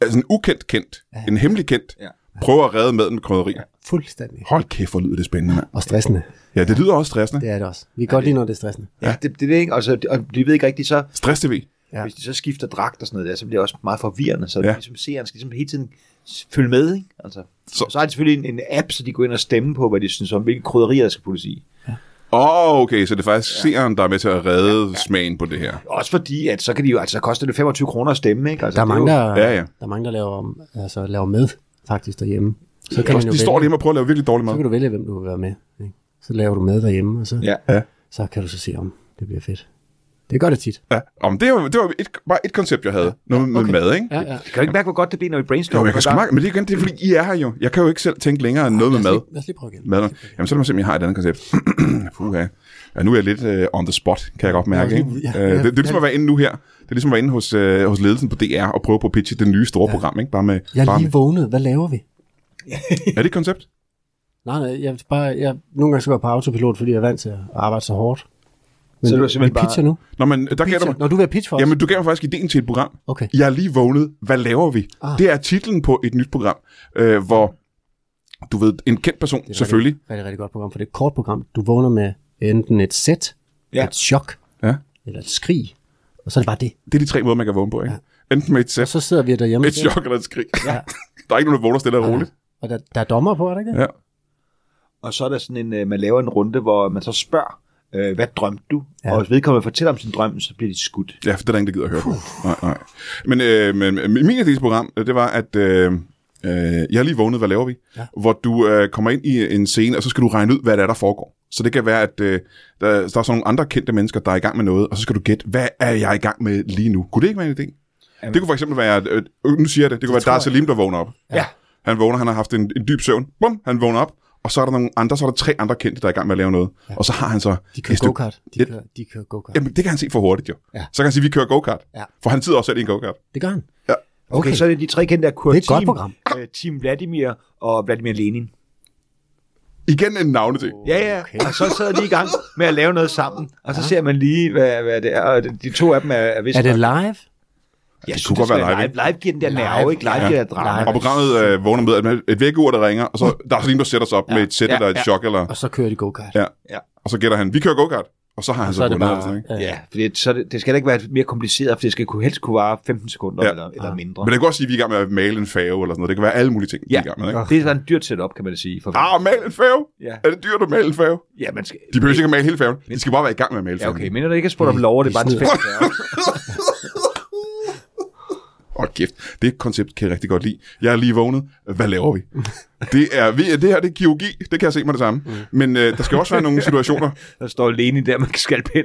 A: altså en ukendt kendt, ja. en hemmelig kendt, ja.
B: Ja.
A: prøver at redde maden med krydderier.
C: Fuldstændig.
A: Hold kæft, hvor lyder det spændende, mand.
C: Og stressende.
A: Ja, det lyder også stressende.
C: Det er det også. Vi kan godt lide, når det er stressende.
B: ja. det, det, er det ikke, altså, det- og de ved ikke rigtigt, så
A: Stress TV.
C: Ja.
B: ja. hvis de så skifter dragt og sådan noget der, så bliver det også meget forvirrende, så
A: Ja.
B: ja. ligesom seeren skal ligesom hele tiden s- følge med, ikke? Altså,
A: Så-
B: så. så har de selvfølgelig en, en, app, så de går ind og stemmer på, hvad de synes om, hvilke krydderier, der skal puttes i.
A: Åh, oh, okay, så det er faktisk ja. seeren, der er med til at redde ja, ja. smagen på det her.
B: Også fordi, at så kan de jo, altså, så koster det 25 kroner at stemme, ikke? Altså,
C: Der er
B: det
C: mange,
B: jo-
C: der,
A: Ja, ja.
C: der, er mange, der laver, altså, laver med faktisk derhjemme. Så kan,
A: Ja,
C: man jo
A: de står lige
C: vælge,
A: og prøver at lave virkelig dårlig mad.
C: så kan du vælge, hvem du vil være med. Ikke? Så laver du med derhjemme, og så,
B: Ja.
C: så kan du så se om det bliver fedt. Det gør det tit.
A: Ja. Om det var, det var et, bare et koncept, jeg havde. Noget med
C: okay.
A: mad, ikke?
C: Ja, ja.
B: Kan du ikke mærke, hvor godt det bliver, når vi brainstormer?
A: Jo, jeg kan sgu mærke, men det er igen, det er fordi, I er her jo. Jeg kan jo ikke selv tænke længere end noget med
C: Lad
A: mad.
C: os lige, lad os lige prøve igen.
A: mad. Jamen, så er det mig simpelthen, jeg har et andet koncept. Puh, ja. ja. nu er jeg lidt øh, on the spot, kan jeg godt mærke.
C: Ja,
A: Ikke?
C: lige-
A: Ja,
C: ja,
A: ja, det, det er
C: ja.
A: ligesom at være inde nu her. Det er ligesom at være inde hos, øh, hos ledelsen på DR og prøve på at pitche det nye store ja. program. Ikke? Bare med,
C: Jeg er
A: bare
C: lige vågnet. Hvad laver vi?
A: med. Er det et koncept?
C: Nej, nej. Jeg, bare, jeg, nogle gange skal jeg på autopilot, fordi jeg er vant til at arbejde så hårdt. Men
B: Så du er
C: vi-
B: simpelthen
C: vi pitcher
B: bare-
C: nu.
A: Nå, men øh, der gav du
C: Pitcher.
A: mig.
C: Når du vil have pitch for os.
A: Jamen, du gav mig faktisk ideen til et program.
C: Okay.
A: Jeg er lige vågnet. Hvad laver vi? Ah.
C: Ah.
A: Det er titlen på et nyt program, øh, hvor du ved, en kendt person, selvfølgelig.
C: Rigtig, rigtig, rigtig godt program, for det er et kort program. Du vågner med enten et sæt,
B: Ja.
C: ja. et chok,
A: Ja.
C: eller et skrig, og så er det bare det.
A: Det er de tre måder, man kan vågne på. Ikke? Ja. Enten med et
C: Og
A: sæt,
C: så sidder vi derhjemme.
A: et chok eller et skrig. Ja. der er ikke nogen, der vågner stille og roligt.
C: Og der, der er dommer på, er der ikke det?
A: Ja.
B: Og så er der sådan en, øh, man laver en runde, hvor man så spørger, øh, hvad drømte du? Ja.
C: Ja.
B: Og hvis vedkommende fortæller om sin drøm, så bliver de skudt.
A: Ja, for det er der ingen, der gider at høre på. Nej, nej. Men, øh, men min idé til program, det var, at øh, øh, jeg har lige vågnet, hvad laver vi? Ja. Hvor du øh, kommer ind i en scene, og så skal du regne ud, hvad der er, der foregår. Så det kan være, at øh, der, der er sådan nogle andre kendte mennesker, der er i gang med noget, og så skal du gætte, hvad er jeg i gang med lige nu? Kunne det ikke være en idé? Jamen. Det kunne for eksempel være, øh, nu siger jeg det, det kunne det være, at Salim, der vågner op.
B: Ja.
A: Han vågner, han har haft en, en dyb søvn. Bum, han vågner op. Og så er der nogle andre, så er der tre andre kendte, der er i gang med at lave noget. Ja. Og så har han så...
C: De
A: et
C: kører
A: stykke-
C: go-kart. De
A: et-
C: kører, de kører go-kart.
A: Jamen, det kan han se for hurtigt jo.
C: Ja.
A: Så kan han sige, vi kører go-kart.
C: Ja.
A: For han sidder også selv i en go-kart.
C: Det gør han.
A: Ja.
B: Okay, okay, så er det de tre kendte der, Kurt
C: Det er et godt
B: Team,
C: program.
B: øh, Team Vladimir og Vladimir Lenin.
A: Igen en navneting.
B: Ja, ja, okay. og så sidder de i gang med at lave noget sammen, og så ja. ser man lige, hvad, hvad det er, og de- de to af dem er, er vist...
C: Er det live?
B: jeg
A: kunne godt være live,
B: live. Live giver den der nerve, ikke? Live
A: Ja.
B: giver der drama.
A: Og programmet øh, vågner med, at man- et vækkeord, der ringer, og så der er så en, der sætter sig op ja. med et sæt
B: Ja,
A: ja. eller et
B: ja.
A: chok, eller,
C: Og så kører de go-kart.
A: Ja.
B: Ja.
A: og så gætter han, vi kører go-kart. Og så har han
C: Og
A: så,
C: så er det
A: vundet.
C: bare...
A: Altså, ikke?
C: Ja.
B: Ja, for det, så det, det skal da ikke være mere kompliceret, for det skal kunne, helst kunne vare 15 sekunder
A: Ja.
B: ja. eller, eller mindre.
A: Men det kan også sige, at vi er i gang med at male en fave, eller sådan noget. Det kan være alle mulige ting, vi
B: Ja,
A: er i gang med. Ikke?
B: det er sådan en dyrt setup, kan man sige. For
A: Ah, male en fave?
B: Ja.
A: Er det dyrt at male en fave?
B: ja, man skal,
A: De behøver ikke at male hele faven. De skal bare være i gang med at male
B: ja,
A: faven.
B: okay, men når du ikke har spurgt om lov, og det er bare en
C: De snyder.
B: tilfældig nerve.
A: Åh, oh, kæft. Det koncept kan jeg rigtig godt lide. Jeg er lige vågnet. Hvad laver vi? Det, er, vi- det her det er kirurgi. Det kan jeg se med det samme. Mm. Men øh, der skal også være nogle situationer,
B: Der står Lenin der, man kan skalpellen.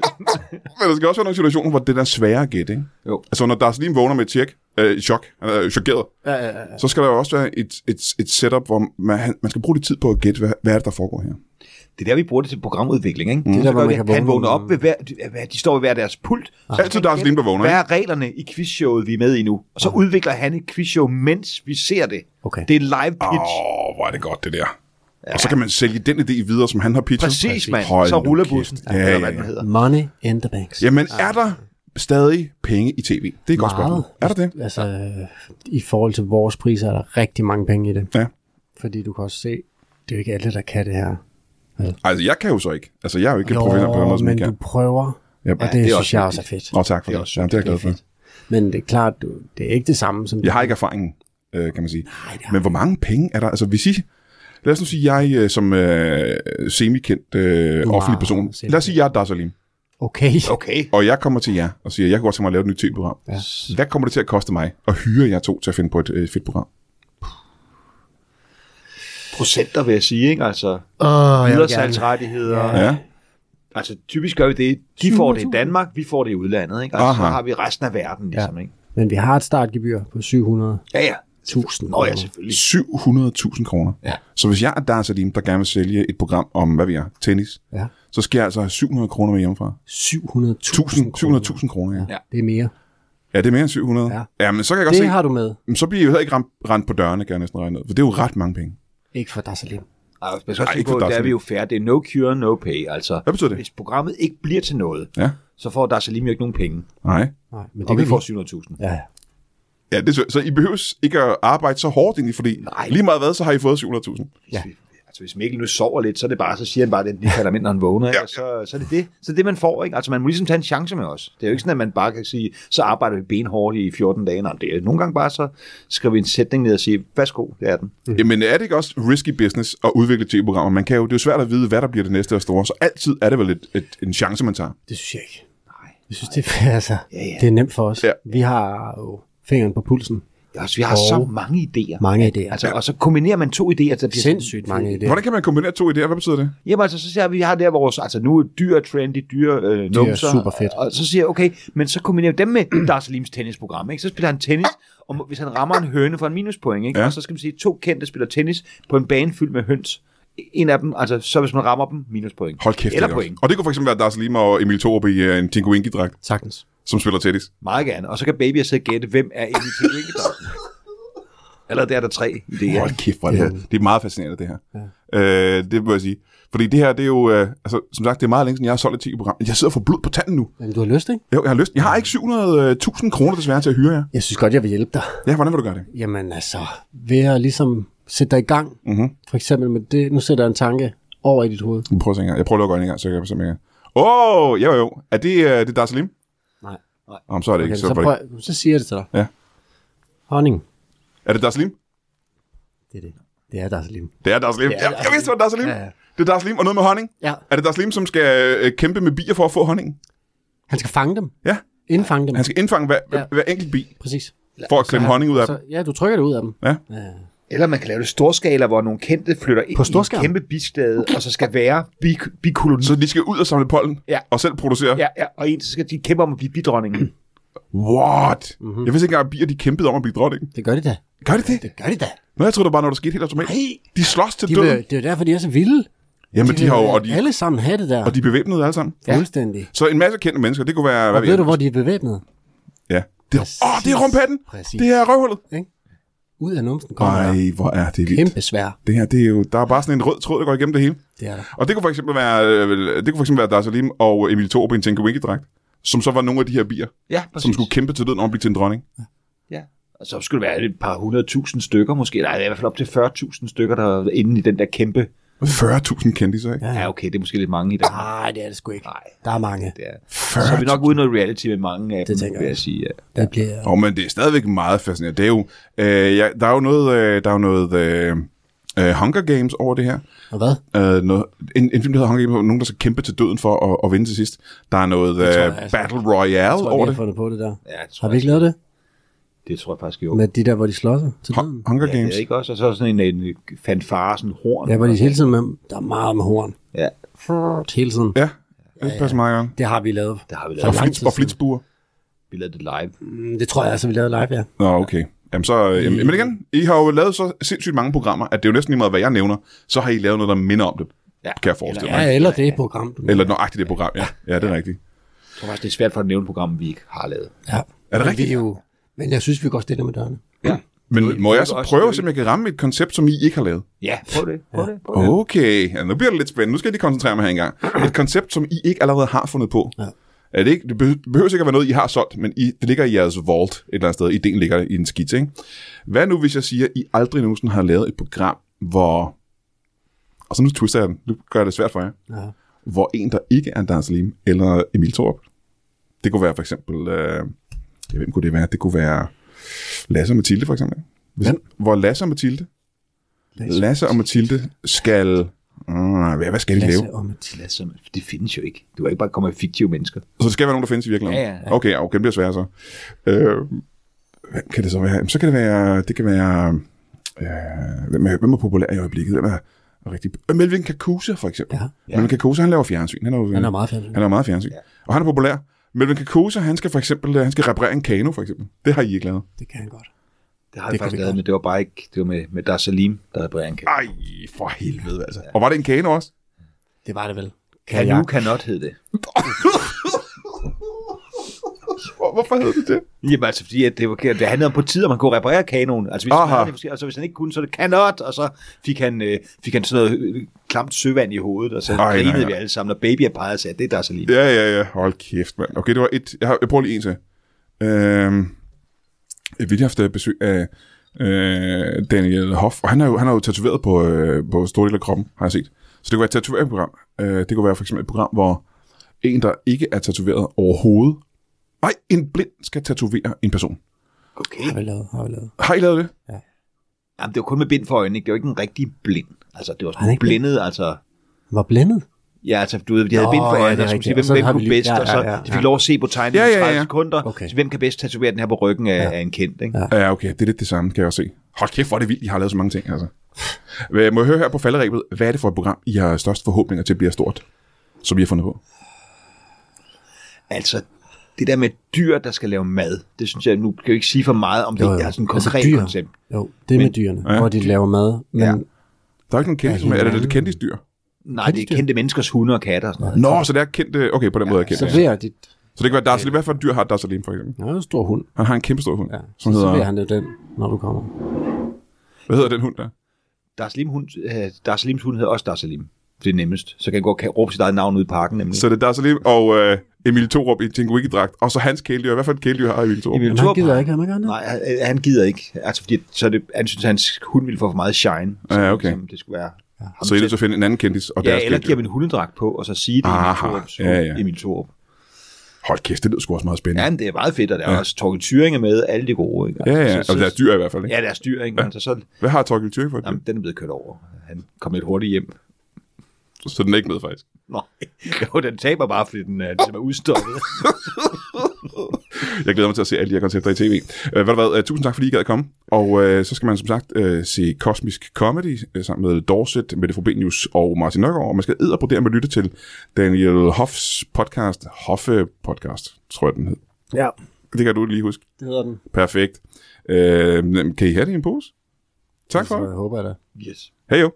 A: men der skal også være nogle situationer, hvor det der er sværere at gætte. Ikke?
B: Jo.
A: Altså, når Darceline vågner med et tjek, øh, et chok, han er chokeret,
C: Ja, ja, ja.
A: så skal der jo også være et, et, et setup, hvor man, han- man skal bruge lidt tid på at gætte, hvad, hvad er det, der foregår her.
B: Det er der, vi bruger det til programudvikling, ikke?
C: er der,
B: Så
C: hvor
B: gør
C: man
B: vi,
C: kan
B: at han
C: vågne
B: vågner op
C: om-
B: ved hver, de- hvad- de står ved hver deres pult. Så
A: Altid
B: han kan
A: Lars Lindberg
B: gætte,
A: Ah. vågner,
B: Hvad er reglerne i quizshowet, vi er med i nu? Og så udvikler han et quizshow, mens vi ser det.
C: Okay.
B: Det er live
A: Åh,
B: pitch. Oh,
A: oh, hvor er det godt, det der. Ja. Og så kan man sælge den idé videre, som han har pitchet.
B: præcis, mand.
A: Hold
B: Så
A: nu
B: ruller
A: kæft.
B: bussen,
A: Ja, ja,
B: eller hvad
A: ja.
B: den hedder.
C: Money in the banks.
A: Jamen, er der stadig penge i tv? Det er et godt spørgsmål. Er der det?
C: Altså, i forhold til vores priser er der rigtig mange penge i det.
A: Ja.
C: Fordi du kan også se, det er jo ikke alle, der kan det her.
A: Altså, jeg kan jo så ikke. Altså, jeg er jo ikke professionel på den måde, som
C: men
A: I kan.
C: du prøver,
A: Yep.
C: og det, det
B: er
C: synes
B: også
C: jeg
B: vigtigt.
C: også er fedt.
A: Nå, tak for det. det. Jamen, det er jeg glad for.
C: fedt. Men det er klart, du, det er ikke det samme som...
A: Jeg har ikke erfaringen, øh, kan man sige.
C: Nej, det har
A: Men hvor mange penge er der? Altså, hvis I... Lad os nu sige, jeg øh, som øh, semikendt øh,
C: er
A: offentlig person.
C: semikendt.
A: Lad os sige, jeg er Darsalim.
C: Okay.
B: Okay.
A: Og jeg kommer til jer og siger, jeg kunne godt tænke mig at lave et nyt tv-program. Ja. Hvad kommer det til at koste mig at hyre jer to til at finde på et øh, fedt program?
B: Procenter, vil jeg sige, ikke? Altså,
C: Åh, jeg vil gerne.
B: videresalgsrettigheder.
A: Ja.
B: Altså, typisk gør vi det. De får det i Danmark, vi får det i udlandet, ikke? Altså, så
A: Aha.
B: har vi resten af verden, ligesom, ikke?
C: Men vi har et startgebyr på 700.000.
B: Ja, ja. Nå ja,
C: kroner.
B: selvfølgelig.
A: 700.000 kroner. Ja. Så hvis jeg er Darsalim, der gerne vil sælge et program om, hvad vi er, tennis,
C: Ja.
A: så skal jeg altså have 700 kroner med hjemmefra.
C: 700.000
A: 1000,
C: kroner.
A: 700.000 kroner, ja.
B: Ja.
A: ja.
C: Det er mere.
A: Ja, det er mere end 700. Ja.
C: Ja.
A: Jamen, så kan jeg godt
C: Det
A: se,
C: har du med.
A: Jamen, så bliver I jo heller ikke ramt, rent på dørene, kan jeg næsten regne ud. For det er jo ret mange penge.
C: Ikke for dig så lidt.
B: Ej, man skal
A: Ej, ikke
B: også tænke
A: for
B: på,
A: dig
B: der er
A: selv.
B: vi jo færdige. Det er no cure, no pay. Altså,
A: Hvad betyder det?
B: Hvis programmet ikke bliver til noget,
A: Ja.
B: så får der Salim jo ikke nogen penge.
A: Nej.
C: Nej, men det
B: Og vi
C: kan
B: får
C: vi-
B: 700.000.
C: Ja, ja.
A: Ja, det, er svært. så I behøves ikke at arbejde så hårdt egentlig, fordi Nej.
B: Nej.
A: lige meget hvad, så har I fået 700.000.
B: Ja. Altså, hvis Mikkel nu sover lidt, så er det bare, så siger han bare, at det lige falder ind, når han vågner. Ja.
A: Ja.
B: Og så, så er det det. Så er det, man får, ikke? Altså, man må ligesom tage en chance med os. Det er jo ikke sådan, at man bare kan sige, så arbejder vi benhårdt i 14 dage. Nej, det er nogle gange bare, så skriver vi en sætning ned og siger, værsgo, det er den.
A: Mm. Jamen er det ikke også risky business at udvikle tv-programmer? Man kan jo, det er jo svært at vide, hvad der bliver det næste og store, så altid er det vel et, et, en chance, man tager.
C: Det synes jeg ikke.
B: Nej.
C: Jeg synes, det er, altså,
B: ja.
C: det er nemt for os.
A: Ja.
C: Vi har jo fingeren på pulsen.
B: Altså, vi har og... så mange idéer.
C: Mange idéer.
B: Altså, og så kombinerer man to idéer, så bliver
C: Sindssygt mange idéer.
A: Hvordan kan man kombinere to idéer? Hvad betyder det?
B: Jamen altså, så siger vi, vi har der vores, altså nu er dyr er trendy, dyr øh,
C: Dyr er
B: numser,
C: super fedt.
B: Og, og så siger jeg, okay, men så kombinerer vi dem med Dar Salims tennisprogram, ikke? Så spiller han tennis, og må- hvis han rammer en høne for en minuspoint, ikke?
A: Ja.
B: Ja. Og så skal man sige, to kendte spiller tennis på en bane fyldt med høns. En af dem, altså så hvis man rammer dem, minuspoint.
A: Hold kæft,
B: Eller
A: det er
B: point.
A: godt. Og det kunne for eksempel være Lars Lima og Emil Thorup i øh, en Tinko Winky-dragt,
C: Sagtens.
A: som spiller tennis.
B: Meget gerne. Og så kan babyer sidde og gætte, hvem er Emil Tinkovinkidrømmen. Eller der er der tre idéer.
A: Hold kæft, hvor er det, her. det er meget fascinerende, det her. Ja. Øh, det må jeg sige. Fordi det her, det er jo, øh, altså, som sagt, det er meget længe siden, jeg har solgt et tv-program. Jeg sidder og får blod på tanden nu.
C: Jamen, du har lyst, ikke?
A: Jo, jeg har lyst. Jeg har ikke 700.000 kroner desværre til at hyre jer.
C: Jeg synes godt, jeg vil hjælpe dig.
A: Ja, hvordan vil du gøre det?
C: Jamen altså, ved at ligesom sætte dig i gang,
A: Mhm.
C: mm-hmm. for eksempel med det, nu sætter jeg en tanke over i dit hoved.
A: Prøv at se en gang. Jeg prøver at lukke øjnene en gang, så jeg kan se mere. Åh, oh, jo jo. Er det, øh, det er Dar Salim?
C: Nej.
A: Om, så er det ikke.
C: Okay,
A: Så,
C: så,
A: var det
C: prøv, så siger jeg det til dig.
A: Ja.
C: Honning,
A: ikke. Er det Dar Salim?
C: det er det. Det er deres liv.
A: Det er Dar Salim. Ja, jeg vidste, det var Dar Salim.
C: Ja, ja.
A: Det er Dar Salim og noget med honning.
C: Ja.
A: Er det Dar Salim, som skal øh, kæmpe med bier for at få honningen?
C: Han skal fange dem.
A: Ja.
C: Indfange dem.
A: Han skal indfange hver,
C: Ja.
A: hver enkelt bi
C: Præcis.
A: for at klemme honning ud af dem.
C: Så, ja, du trykker det ud af dem.
A: Ja.
B: Eller man kan lave det storskala, hvor nogle kendte flytter ind
C: På
B: i en
C: storskærm?
B: kæmpe bistade, og så skal være bi- bikoloni.
A: Så de skal ud og samle pollen
B: Ja.
A: og selv producere.
B: Ja, ja, og en, så skal de kæmpe om at blive bidronningen.
A: What? Mm-hmm. Jeg vidste ikke engang, at bier de kæmpede om at blive dronningen.
C: Det Mhm. gør de da.
A: Gør de det?
C: Det gør de da.
A: Nå, jeg troede det bare, når der skete helt automatisk.
C: Nej.
A: De slås til
C: De
A: døden.
C: vil, det er jo derfor, de er så vilde.
A: Jamen, de, har jo,
C: vil
A: og de,
C: Alle sammen have det der.
A: og de er bevæbnede alle sammen.
C: Fuldstændig.
A: Så en masse kendte mennesker, det kunne være...
C: Og
A: ved
C: ved
A: jeg?
C: du, hvor de er bevæbnet?
A: Ja. Det,
C: Præcis.
A: åh, oh, det er rumpetten!
C: Præcis.
A: Det er røvhullet!
C: Ud af numsen kommer der
A: Ej, hvor er det vildt.
C: kæmpe svær.
A: Det her, det er jo, der er bare sådan en rød tråd, der går igennem det hele.
C: Det er der.
A: Og det kunne for eksempel være, øh, det kunne for eksempel være Dar Salim og Emil Thorup i en Tinker dragt som så var nogle af de her bier,
B: Ja,
A: som skulle kæmpe til døden om at blive til en dronning.
B: Ja. Og så skulle det være et par hundredtusind stykker måske. Nej, det er i hvert fald op til 40.000 stykker, der er inde i den der kæmpe.
A: 40.000 kendte så, ikke?
C: Ja.
B: Ja, okay, det er måske lidt mange i dag.
C: Nej, det er det sgu ikke.
B: Nej,
C: Der er mange.
B: det er.
A: 40.
B: Så er vi nok ude i noget reality med mange af
C: Det
B: dem,
C: tænker
B: vil
C: jeg.
B: jeg sige. Ja.
C: Det bliver...
A: Åh, oh, men det er stadigvæk meget fascinerende. Det er jo, øh, ja, der er jo noget, øh, der er jo noget øh, øh, Hunger Games over det her.
C: Og hvad?
A: Øh, noget, en, en film, der hedder Hunger Games, hvor nogen, der skal kæmpe til døden for at, at vinde til sidst. Der er noget øh,
C: tror jeg, altså.
A: Battle Royale
C: Jeg tror,
A: over
C: vi
A: det.
C: har fundet på det der.
B: Ja, det tror
C: Har vi
B: jeg,
C: ikke lavet det?
B: det tror jeg faktisk jo.
C: Med de der, hvor de slås til døden?
A: Hu- Hunger
B: Ja, det
A: Games.
B: er ikke også. Og så er der sådan en, en fanfare, sådan horn.
C: Ja, hvor de hele tiden med... Der er meget med horn.
B: ja.
C: Hele tiden.
A: Ja, det passer meget godt.
C: Det har vi lavet.
B: Det har vi
C: For
A: Og,
B: lavet.
C: lang
A: flits,
C: tid
A: og
C: siden.
A: flitsbuer.
B: Vi lavede det live.
C: Mm, Det tror jeg altså, vi lavede live, ja.
A: Nå, okay. Jamen så, øh, jamen, men igen, I har jo lavet så sindssygt mange programmer, at det er jo næsten lige meget, hvad jeg nævner, så har I lavet noget, der minder om det,
B: Ja.
A: kan jeg forestille
C: Ja,
A: mig.
C: eller det program. du-
A: Eller nøjagtigt det program, ja. Ja, det er rigtigt.
B: Jeg tror faktisk, det er svært for at nævne program, vi ikke har lavet.
C: Ja.
A: Er det
C: Men
A: rigtigt?
C: Vi er jo... Men jeg synes, vi går stille med dørene.
A: Men må jeg så
B: også
A: prøve,
B: det.
A: så jeg kan ramme et koncept, som I ikke har lavet?
B: Ja, prøv det. Prøv det. Prøv det.
A: Okay, ja, nu bliver det lidt spændende. Nu skal jeg lige koncentrere mig her engang. Et koncept, som I ikke allerede har fundet på. Ja.
C: Ja.
A: Er det, ikke, det behø- behøver ikke at være noget, I har solgt, men I, det ligger i jeres vault et eller andet sted. Ideen ligger i en skitse, ikke? Hvad nu, hvis jeg siger, at I aldrig nogensinde har lavet et program, hvor... Og så nu twister jeg den. Nu gør jeg det svært for jer.
C: Ja.
A: Hvor en, der ikke er Dan Salim eller Emil Thorup. Det kunne være for eksempel... Øh, ja, hvem kunne det være? Det kunne være Lasse og Mathilde, for eksempel. Hvis,
C: Hvem?
A: Hvor Lasse og Mathilde Lasse og Mathilde skal... Mm, hvad hvad skal de
C: Lasse
A: lave?
C: og Mathilde.
B: Lasse, det findes jo ikke. Du kan ikke bare komme af fiktive mennesker.
A: Så det skal være nogen, der findes i virkeligheden?
B: Ja, ja,
A: Okay, ja, okay, det bliver svært så. Øh, hvem kan det så være? Jamen, Så kan det være... Det kan være... Øh, hvem, er, hvem er populær i øjeblikket? Hvem er rigtig... Øh, Melvin Kakusa, for eksempel.
C: Ja.
A: Ja. Melvin Kakusa, han laver fjernsyn. Han er, jo,
C: Han er meget fjernsyn.
A: han er meget fjernsyn. Ja. Og han er populær. Melvin Kakusa, han skal for eksempel... øh, Han skal reparere en kano, for eksempel. Det har I ikke lavet.
C: Det kan han godt.
B: Det har vi
C: Det kan
B: faktisk
C: vi
B: lavet,
C: godt.
B: men det var bare ikke... Det var med, med Dar Salim, der havde Brian Kan.
A: Ej, for helvede, altså. Og var det en kano også?
C: Det var det vel.
B: Kan nu cannot hed det.
A: Hvor- Hvorfor hed det det?
B: Jamen altså, fordi at det, var, det handlede om på tid, at man kunne reparere kanonen. Altså hvis,
A: Aha.
B: han, det, altså, hvis han ikke kunne, så er det cannot, og så fik han, øh, fik han sådan noget øh, klamt søvand i hovedet, og så
A: nej,
B: grinede
A: nej.
B: vi alle sammen, og babyer pegede og sagde, det er Dar Salim.
A: Ja, ja, ja. Hold kæft, mand. Okay, det var et. Jeg, har, jeg prøver lige en til. Øhm, vi har haft øh, besøg af øh, Daniel Hoff, og han er jo, han er jo tatoveret på, øh, på store del af kroppen, har jeg set. Så det kunne være et tatoveringsprogram. Øh, det kunne være for eksempel et program, hvor en, der ikke er tatoveret overhovedet, nej, en blind skal tatovere en person.
B: Okay.
C: Har vi lavet, har vi lavet.
A: Har I lavet det?
B: Jamen, det var kun med bind for øjnene, ikke? Det var ikke en rigtig blind. Altså, det var
C: Han er
B: sådan
C: ikke blind.
B: blindet, altså...
C: Han var blændet.
B: Ja, altså, du ved, de havde
C: Nå,
B: bind for
C: ja, det er
B: alle, og så
C: rigtigt.
B: sige,
C: Og så
B: hvem, hvem
C: har vi
B: kunne
C: lige-
B: bedst,
C: ja,
B: og så
C: ja, ja,
B: de
C: ja.
B: fik lov at se på tegnet
A: Ja,
B: i
A: ja,
B: 30
A: ja.
B: sekunder,
C: Okay.
B: så hvem kan bedst tatovere den her på ryggen af, af en kendt, ikke?
C: Ja.
A: Ja, okay, det er lidt det samme, kan jeg også se. Hold kæft, hvor er det vildt, I har lavet så mange ting, altså. Hvad- Må jeg høre her på falderæbet, hvad er det for et program, I har størst forhåbninger til bliver stort, som I har fundet på?
B: Altså, det der med dyr, der skal lave mad, det synes jeg, nu kan jeg jo ikke sige for meget om det, er sådan et konkret altså,
C: dyr.
B: koncept.
C: Jo, det er med dyrene, ja. hvor de laver mad. Men
B: Ja.
C: ja.
A: Der er ikke nogen kendis, med, er det, det kendisdyr?
B: Nej, det er kendte menneskers hunde og katte og sådan noget.
A: Nå, så det er kendte, okay, på den måde er kendt.
C: så
A: Så,
C: ved jeg dit...
A: det kan være, der er, hvad for et dyr har Dar Salim, for eksempel?
C: Han er jo en stor hund.
A: Han har en kæmpe stor hund, ja.
C: Ja.
A: som
C: så
A: hedder,
C: ved han det den, når du kommer.
A: hvad hedder den hund der?
B: Der er Slim hund, øh, Dar Slims hund hedder også Dar Salim. Det er nemmest. Så kan jeg godt kan råbe sit eget navn ude i parken, nemlig.
A: Så det er Dar Salim og øh, Emil Thorup i Tinguiki-dragt, og så hans kæledyr. Hvad for et kæledyr har Emil Thorup?
B: Emil
C: Men han
B: Thorup-
C: gider ikke, han ikke
B: Nej, han- øh, han gider ikke. Altså, fordi så er det, han synes, at hans hund ville få for meget shine.
A: Ja,
B: som-
A: okay.
B: Som det skulle være. Ja,
A: Så I er nødt til at finde en anden kendis og deres
B: ja eller
A: kæledyr.
B: giver min hundedragt på, og så sige det
A: Aha,
B: Aha, Emil Thorup.
A: ja, ja.
B: Emil Thorup.
A: Hold kæft, det lyder sgu også meget spændende.
B: Ja, men det er meget fedt, og der er også Torkel Thyring er med, alle de gode. Ikke?
A: Ja, ja,
B: Så,
A: og deres dyr i hvert fald, ikke?
B: Ja, deres dyr, ikke? Ja. Altså, så,
A: Hvad har Torgild Tyrk for et dyr?
B: jamen, den er blevet kørt over. Han kom lidt hurtigt hjem.
A: Så den er ikke med, faktisk.
B: Nå, jo, den taber bare, fordi den er, ligesom er udstoppet.
A: Jeg glæder mig til at se alle de her koncepter i tv. Uh, hvad der hvad, uh, tusind tak, fordi I gad at komme. Og uh, så skal man som sagt uh, se Kosmisk Comedy uh, sammen med Dorset, Mette Frobenius og Martin Nørgaard. Og man skal edderbrodere med at lytte til Daniel Hoffs podcast, Hoffe Podcast, tror jeg den hed.
C: Ja,
A: Det kan du lige huske.
C: det hedder den.
A: Perfekt. Uh, kan I have det i en pose? Tak for
C: Så
A: det.
C: jeg håber jeg da.
B: yes.
A: Hej jo.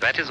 D: That is